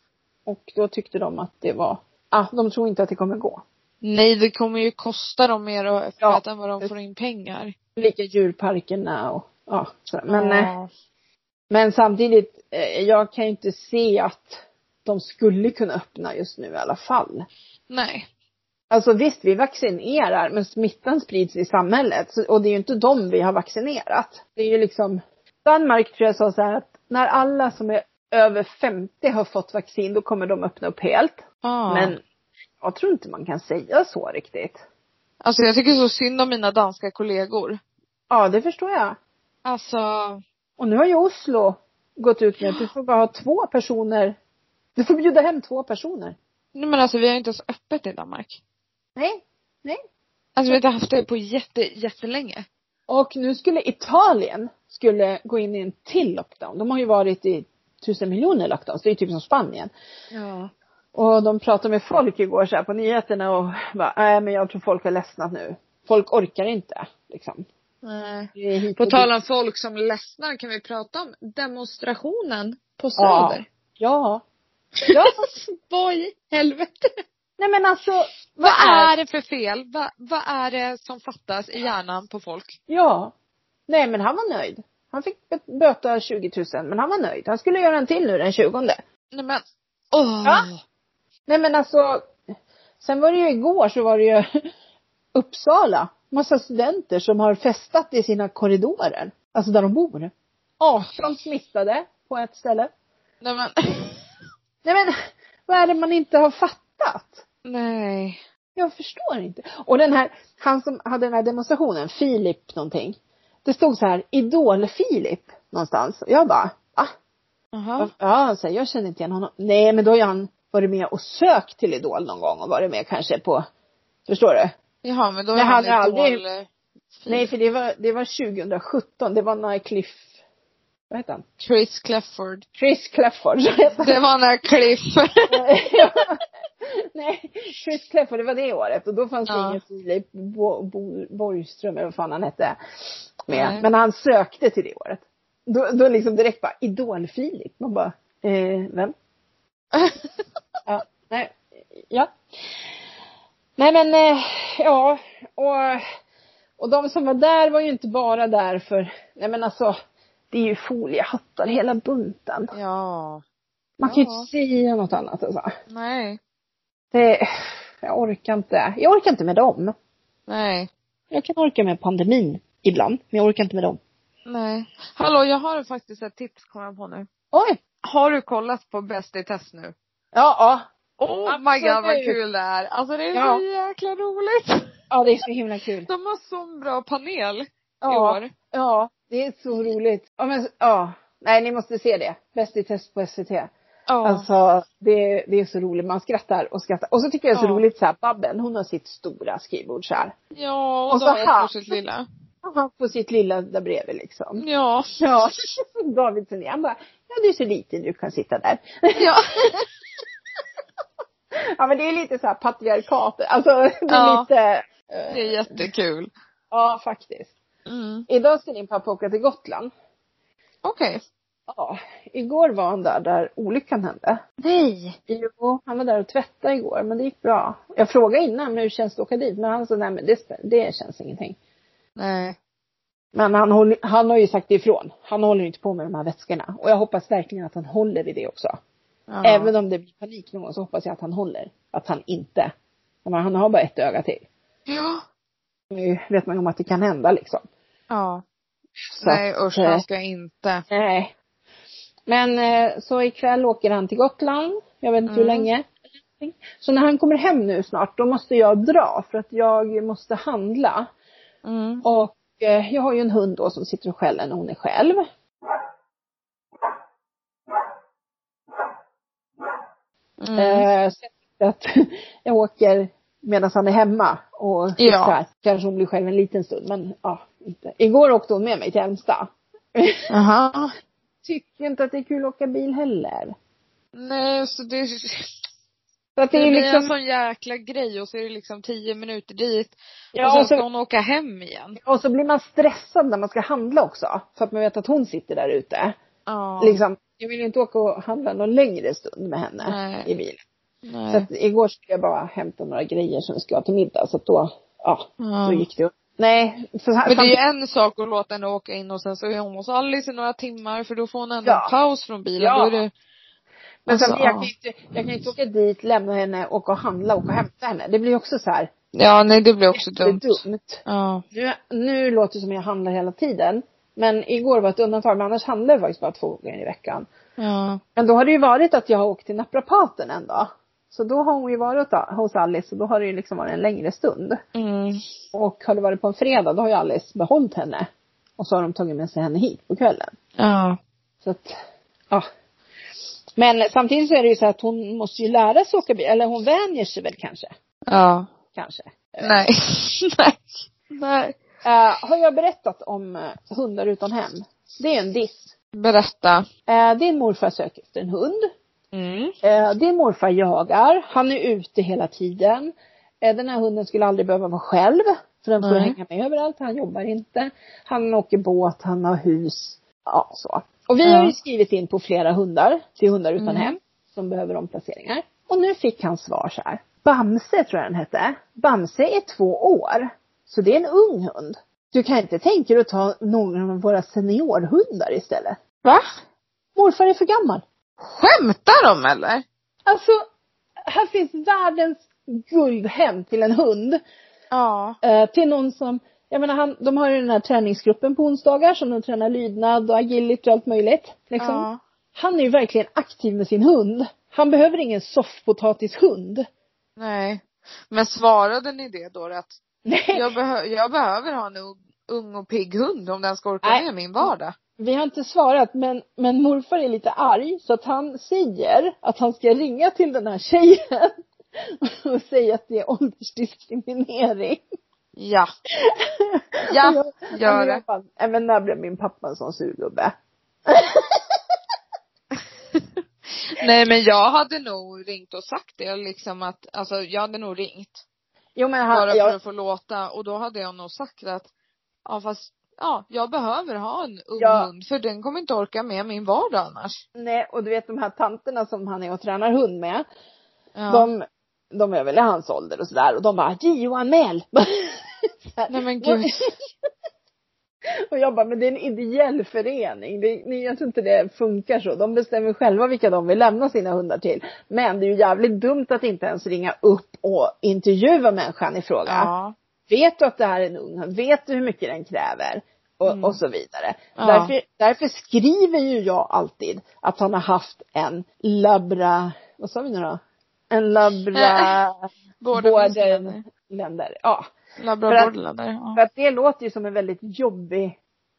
Och då tyckte de att det var, ah, de tror inte att det kommer gå.
Nej, det kommer ju kosta dem mer att öppna
Ja.
än vad de får in pengar.
Lika djurparkerna och ja. Så, men, eh,
ja.
men samtidigt, eh, jag kan ju inte se att de skulle kunna öppna just nu i alla fall.
Nej.
Alltså visst, vi vaccinerar, men smittan sprids i samhället. Så, och det är ju inte dem vi har vaccinerat. Det är ju liksom, Danmark tror jag sa så här att när alla som är över 50 har fått vaccin, då kommer de öppna upp helt.
Ja.
Men jag tror inte man kan säga så riktigt.
Alltså jag tycker så synd om mina danska kollegor.
Ja, det förstår jag.
Alltså,
Och nu har ju Oslo gått ut med att du får bara ha två personer. Du får bjuda hem två personer.
nej men alltså vi har ju inte ens öppet i Danmark.
Nej, nej.
Alltså vi har inte haft det på jätte, jättelänge.
Och nu skulle Italien skulle gå in i en till lockdown. De har ju varit i tusen miljoner lockdowns. Det är ju typ som Spanien.
Ja.
Och de pratade med folk igår så här på nyheterna och bara, nej men jag tror folk har ledsnat nu. Folk orkar inte liksom.
Nej.
Det är hit
På
och dit.
tal om folk som ledsnar, kan vi prata om demonstrationen på Söder?
Ja.
[laughs]
Ja.
Vad i helvete?
Nej men alltså.
Vad är det för fel? Va, vad är det som fattas i hjärnan på folk?
Ja. Nej men han var nöjd. Han fick bet- böta 20 000 men han var nöjd. Han skulle göra en till nu den 20.
Nej men, åh!
Ja. Nej men alltså. Sen var det ju igår så var det ju [laughs] Uppsala. Massa studenter som har festat i sina korridorer. Alltså där de bor. 18 smittade på ett ställe.
Nej men, [laughs]
Nej men [laughs] vad är det man inte har fattat?
nej.
Jag förstår inte. Och den här, han som hade den här demonstrationen, Filip någonting. Det stod så här, Idol-Filip någonstans. Och jag bara, va?
Jaha.
Ja, han säger, jag känner inte igen honom. Nej, men då har ju han varit med och sökt till Idol någon gång och varit med kanske på, förstår du?
Jaha men då är
Men
han
han har aldrig-
idol, eh,
Nej, för det var, det var 2017, det var när Cliff, vad heter han?
Chris Clefford.
Chris Clafford, så heter han.
Det var när Cliff.
Ja. [laughs] Nej, Chris Clefford, det var det året och då fanns det
Ja.
ingen Filip Bo- Bo- Borgström eller vad fan han hette.
Nej.
Med. Men han sökte till det året. Då, då liksom direkt bara, Idol-Filip. Man bara, eh, vem? Ja, nej, ja. Nej men, eh, ja, och, och de som var där var ju inte bara där för, nej men alltså, det är ju foliehattar hela bunten.
[laughs] ja.
Man kan ju
Ja.
inte säga något annat alltså.
Nej.
Det, jag orkar inte. Jag orkar inte med dem.
Nej.
Jag kan orka med pandemin ibland, men jag orkar inte med dem.
Nej. Hallå jag har faktiskt ett tips kom jag på nu.
Oj!
Har du kollat på Bäst i test nu?
Ja, ja.
Oh my
Absolut.
god vad kul det är. Alltså det är så jäkla roligt.
Ja, det är så himla kul.
De har sån bra panel i
Ja,
år.
ja, det är så roligt. Ja, men, ja. Nej, ni måste se det. Bäst i test på SVT.
Ja.
Alltså, det, det är så roligt. Man skrattar och skrattar. Och så tycker jag det är så
Ja.
roligt så här, Babben, hon har sitt stora skrivbord så här.
ja och,
Och
och
så
David
här.
får sitt lilla.
Aha, På sitt lilla där bredvid liksom.
Ja.
Ja, [laughs] David Sundén han bara, ja du är så liten du kan sitta där. [laughs]
Ja.
Ja men det är lite så här patriarkat, alltså [laughs] det är
Ja.
lite,
[laughs]
eh,
Det är jättekul.
ja faktiskt.
Mm.
Idag ska din pappa åka till Gotland.
Okej.
Ja, igår var han där, där olyckan hände.
Nej.
Jo, han var där och tvättade igår, men det gick bra. Jag frågade innan hur känns det att åka dit, men han sa nej men det, spä- det känns ingenting.
Nej.
Men han, håller, han har ju sagt ifrån. Han håller inte på med de här vätskorna. Och jag hoppas verkligen att han håller i det också.
Ja.
Även om det blir panik någon gång så hoppas jag att han håller. Att han inte. Jag menar, han har bara ett öga till.
Ja.
Nu vet man ju om att det kan hända liksom.
Ja.
Så
Nej
att,
usch,
eh,
han ska inte.
Nej. Men eh, så ikväll åker han till Gotland. Jag vet inte hur
Mm.
länge. Så när han kommer hem nu snart då måste jag dra för att jag måste handla.
Mm.
Och eh, jag har ju en hund då som sitter och skäller när hon är själv.
Mm.
Eh, så jag tänkte att [laughs] jag åker medan han är hemma och
Ja.
så här, kanske hon blir själv en liten stund men ja, inte. Igår åkte hon med mig till Älmsta.
Aha.
Tycker inte att det är kul att åka bil heller.
Nej, så det,
Så att
det
det är
blir
liksom,
en sån jäkla grej och så är det liksom tio minuter dit. och
ja,
sen
och,
ska
så,
hon åka hem igen.
och så blir man stressad när man ska handla också. För att man vet att hon sitter där ute.
Ja.
Liksom, jag vill ju inte åka och handla någon längre stund med henne
Nej.
i bilen. Så
Nej.
att igår skulle jag bara hämta några grejer som vi ska ha till middag så att då, ja,
Ja.
då gick det. Nej, för,
Men det är ju en sak att låta henne åka in och sen så är hon hos Alice i några timmar för då får hon ändå
Ja.
en paus från bilen.
Ja.
Då är det,
Men
Alltså,
sen, jag,
ja.
kan ju inte, jag kan ju inte åka dit, lämna henne, åka och handla, åka och hämta henne. Det blir ju också så här,
ja nej det blir också
det är
dumt.
dumt.
Ja.
Nu, nu låter det som jag handlar hela tiden. Men igår var ett undantag, men annars handlar jag faktiskt bara två gånger i veckan.
Ja.
Men då har det ju varit att jag har åkt till naprapaten en dag. Så då har hon ju varit hos Alice och då har det ju liksom varit en längre stund.
Mm.
Och har det varit på en fredag, då har ju Alice behållit henne. Och så har de tagit med sig henne hit på kvällen.
Ja.
Så att, ja. Men samtidigt så är det ju så att hon måste ju lära sig åka bil, eller hon vänjer sig väl kanske.
Ja.
Kanske.
Nej. [laughs] nej. Nej.
Eh, har jag berättat om eh, hundar utan hem? Det är en diss.
Berätta.
Eh, din morfar söker efter en hund.
Mm.
Eh, din morfar jagar. Han är ute hela tiden. Eh, den här hunden skulle aldrig behöva vara själv. För den får
Nej.
hänga med överallt. Han jobbar inte. Han åker båt. Han har hus. Ja, så. Och vi har ju
Ja.
skrivit in på flera hundar till hundar utan
Mm.
hem som behöver omplaceringar. Och nu fick han svar så här. Bamse tror jag den hette. Bamse är två år. Så det är en ung hund. Du kan inte tänka dig att ta någon av våra seniorhundar istället.
Va?
Morfar är för gammal.
Skämtar de eller?
Alltså, här finns världens guldhem till en hund.
Ja.
Eh, till någon som, jag menar han, de har ju den här träningsgruppen på onsdagar som de tränar lydnad och agility och allt möjligt. Liksom.
Ja.
Han är ju verkligen aktiv med sin hund. Han behöver ingen soffpotatishund.
Nej. Men svarade ni det då att
Nej,
jag, behö- jag behöver ha en ung- ung och pigg hund om den ska orka
Nej.
med min vardag?
vi har inte svarat men, men morfar är lite arg så att han säger att han ska ringa till den här tjejen [laughs] och säga att det är åldersdiskriminering.
Ja.
Och
Ja,
[laughs] jag- och
gör
jag
det.
bara, Nej men när blev min pappa en sån surgubbe?
Nej men jag hade nog ringt och sagt det liksom att, alltså jag hade nog ringt.
Jo men han,
Bara för
jag,
att få låta och då hade jag nog sagt att, ja fast, ja jag behöver ha en ung
Ja.
hund för den kommer inte orka med min vardag annars.
nej och du vet de här tanterna som han är och tränar hund med.
Ja.
De, de är väl i hans ålder och sådär och de bara JO-anmäl! [laughs] Så här.
Nej men gud.
[laughs] Och jag bara, men det är en ideell förening. Det, ni- jag tror inte det funkar så. De bestämmer själva vilka de vill lämna sina hundar till. Men det är ju jävligt dumt att inte ens ringa upp och intervjua människan i fråga.
Ja.
Vet du att det här är en ung hund? Vet du hur mycket den kräver? Och,
Mm.
och så vidare.
Ja.
Därför, därför skriver ju jag alltid att han har haft en labra, vad sa vi nu då? En labra,
[laughs] Både,
borderländer. Ja. För att-
Labradorlander.
För
Ja.
att det låter ju som en väldigt jobbig,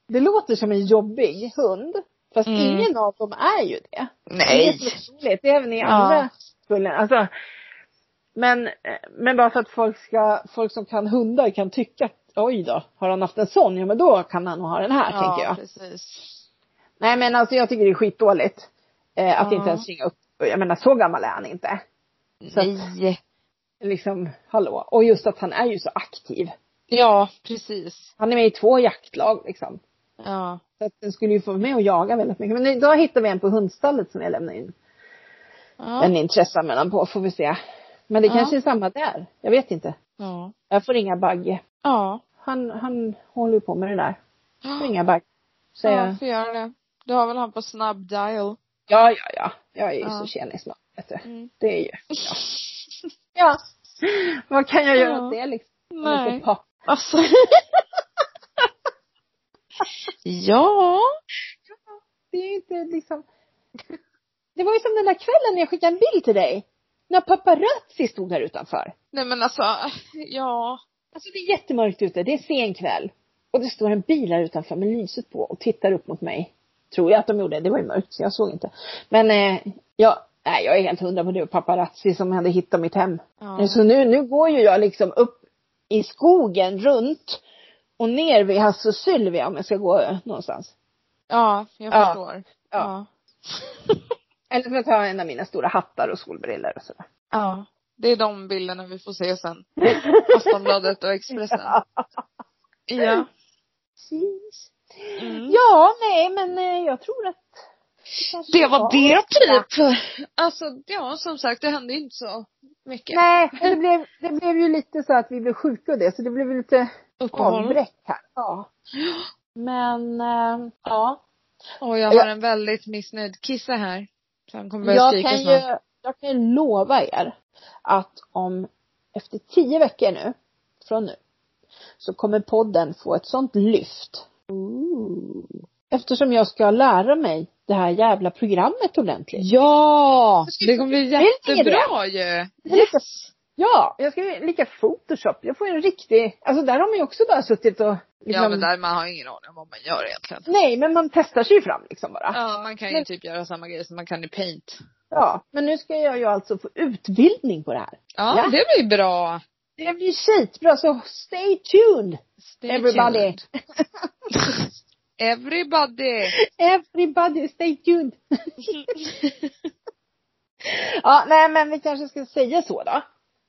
det låter som en jobbig hund. Fast
Mm.
ingen av dem är ju det. Det är
Nej.
så roligt. Det är även i
Ja.
andra skulden. Alltså, men, eh, men bara för att folk ska, folk som kan hundar kan tycka att oj då, har han haft en sån, ja men då kan han nog ha den här tänker
ja,
jag.
precis.
Nej men alltså jag tycker det är skitdåligt. Eh, att
Ja.
inte ens ringa upp, jag menar så gammal är han inte. Så att-
Nej.
Liksom, hallå. Och just att han är ju så aktiv.
Ja, precis.
Han är med i två jaktlag liksom.
Ja.
Så att den skulle ju få mig att jaga väldigt mycket. Men idag hittade vi en på hundstallet som jag lämnade in.
Ja.
Den intressar mellan på får vi se. Men det
Ja.
kanske är samma där. Jag vet inte.
Ja.
Jag får ringa Bagge.
Ja.
Han, han håller ju på med det där. Jag får
Ja,
ringa Bagge. Så
ja
jag,
får göra det. Du har väl han på snabb dial?
ja, ja, ja. Jag är ju
Ja.
så tjenis man, vet du.
Mm.
Det är ju. Ja. [laughs] Vad kan jag göra
Ja.
åt det liksom? Jag är
Nej.
inte papp. [laughs]
Alltså. ja.
Det är ju inte liksom. [laughs] Det var ju som den där kvällen när jag skickade en bild till dig. När paparazzi stod här utanför.
Nej men alltså, ja.
Alltså det är jättemörkt ute, det är sen kväll. Och det står en bil här utanför med lyset på och tittar upp mot mig. Tror jag att de gjorde, det var ju mörkt så jag såg inte. Men eh, jag, nej jag är helt hundra på det var paparazzi som hade hittat mitt hem.
Ja.
Så nu, nu går ju jag liksom upp i skogen runt och ner vid Hasse och Sylvia om jag ska gå eh, någonstans.
Ja, jag
Ja.
förstår.
Ja. Eller för att ha en av mina stora hattar och solbriller och sådär.
Ja. Det är de bilderna vi får
[laughs]
se sen. Aftonbladet och Expressen. Ja.
Precis.
Mm.
Ja, nej men eh, jag tror att det kanske
Det var det typ. Alltså, ja som sagt det hände ju inte så mycket.
Nej, [laughs] men det blev, det blev ju lite så att vi blev sjuka och det, så det blev ju lite
Uppehåll.
avbräck här. Ja. Men, eh, ja.
Och jag har en väldigt missnöjd kissa här. Så han kommer börja
Jag
skrika
kan,
snart.
ju, jag kan ju lova er att om, efter tio veckor nu, från nu, så kommer podden få ett sånt lyft. Eftersom jag ska lära mig det här jävla programmet ordentligt.
Ja! Det kommer bli
är
jättebra ju.
är lite- Ja, jag ska ju lika Photoshop. Jag får en riktig, alltså där har man ju också bara suttit och liksom,
Ja men där man har ingen aning om vad man gör egentligen.
Nej, men man testar sig ju fram liksom bara. Ja.
Ja man kan ju
Men-
typ göra samma grej som man kan i paint.
Men nu ska jag ju alltså få utbildning på det här.
Ja,
Ja.
det blir bra.
Det blir skitbra, så stay tuned
Stay
Everybody.
tuned. Everybody.
[laughs] everybody, stay tuned. [laughs] Ja, nej men vi kanske ska säga så då.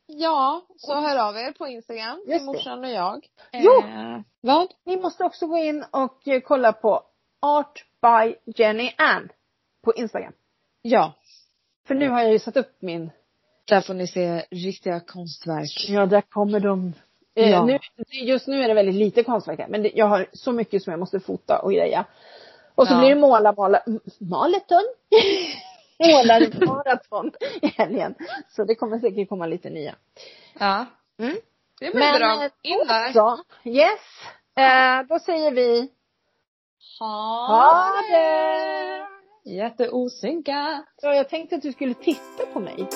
Ja, så hör av er på Instagram
Just
till
det.
morsan och jag.
Jo.
Eh, vad?
Ni måste också gå in och eh, kolla på Art by Jenny Ann på Instagram.
Ja,
För nu har jag ju satt upp min
där får ni se riktiga konstverk.
Ja, där kommer de. Eh,
Ja.
Nu, just nu är det väldigt lite konstverk här, men det, jag har så mycket som jag måste fota och greja. Och så
Ja.
blir det måla, måla, m- maleton.
[laughs]
Målar maraton i helgen. Så det kommer säkert komma lite nya.
Ja.
Mm.
Det blir
Men,
bra.
eh,
In där.
Så, yes. Eh, då säger vi
Ha,
ha det!
Jätteosynkat.
Ja, jag tänkte att du skulle titta på mig.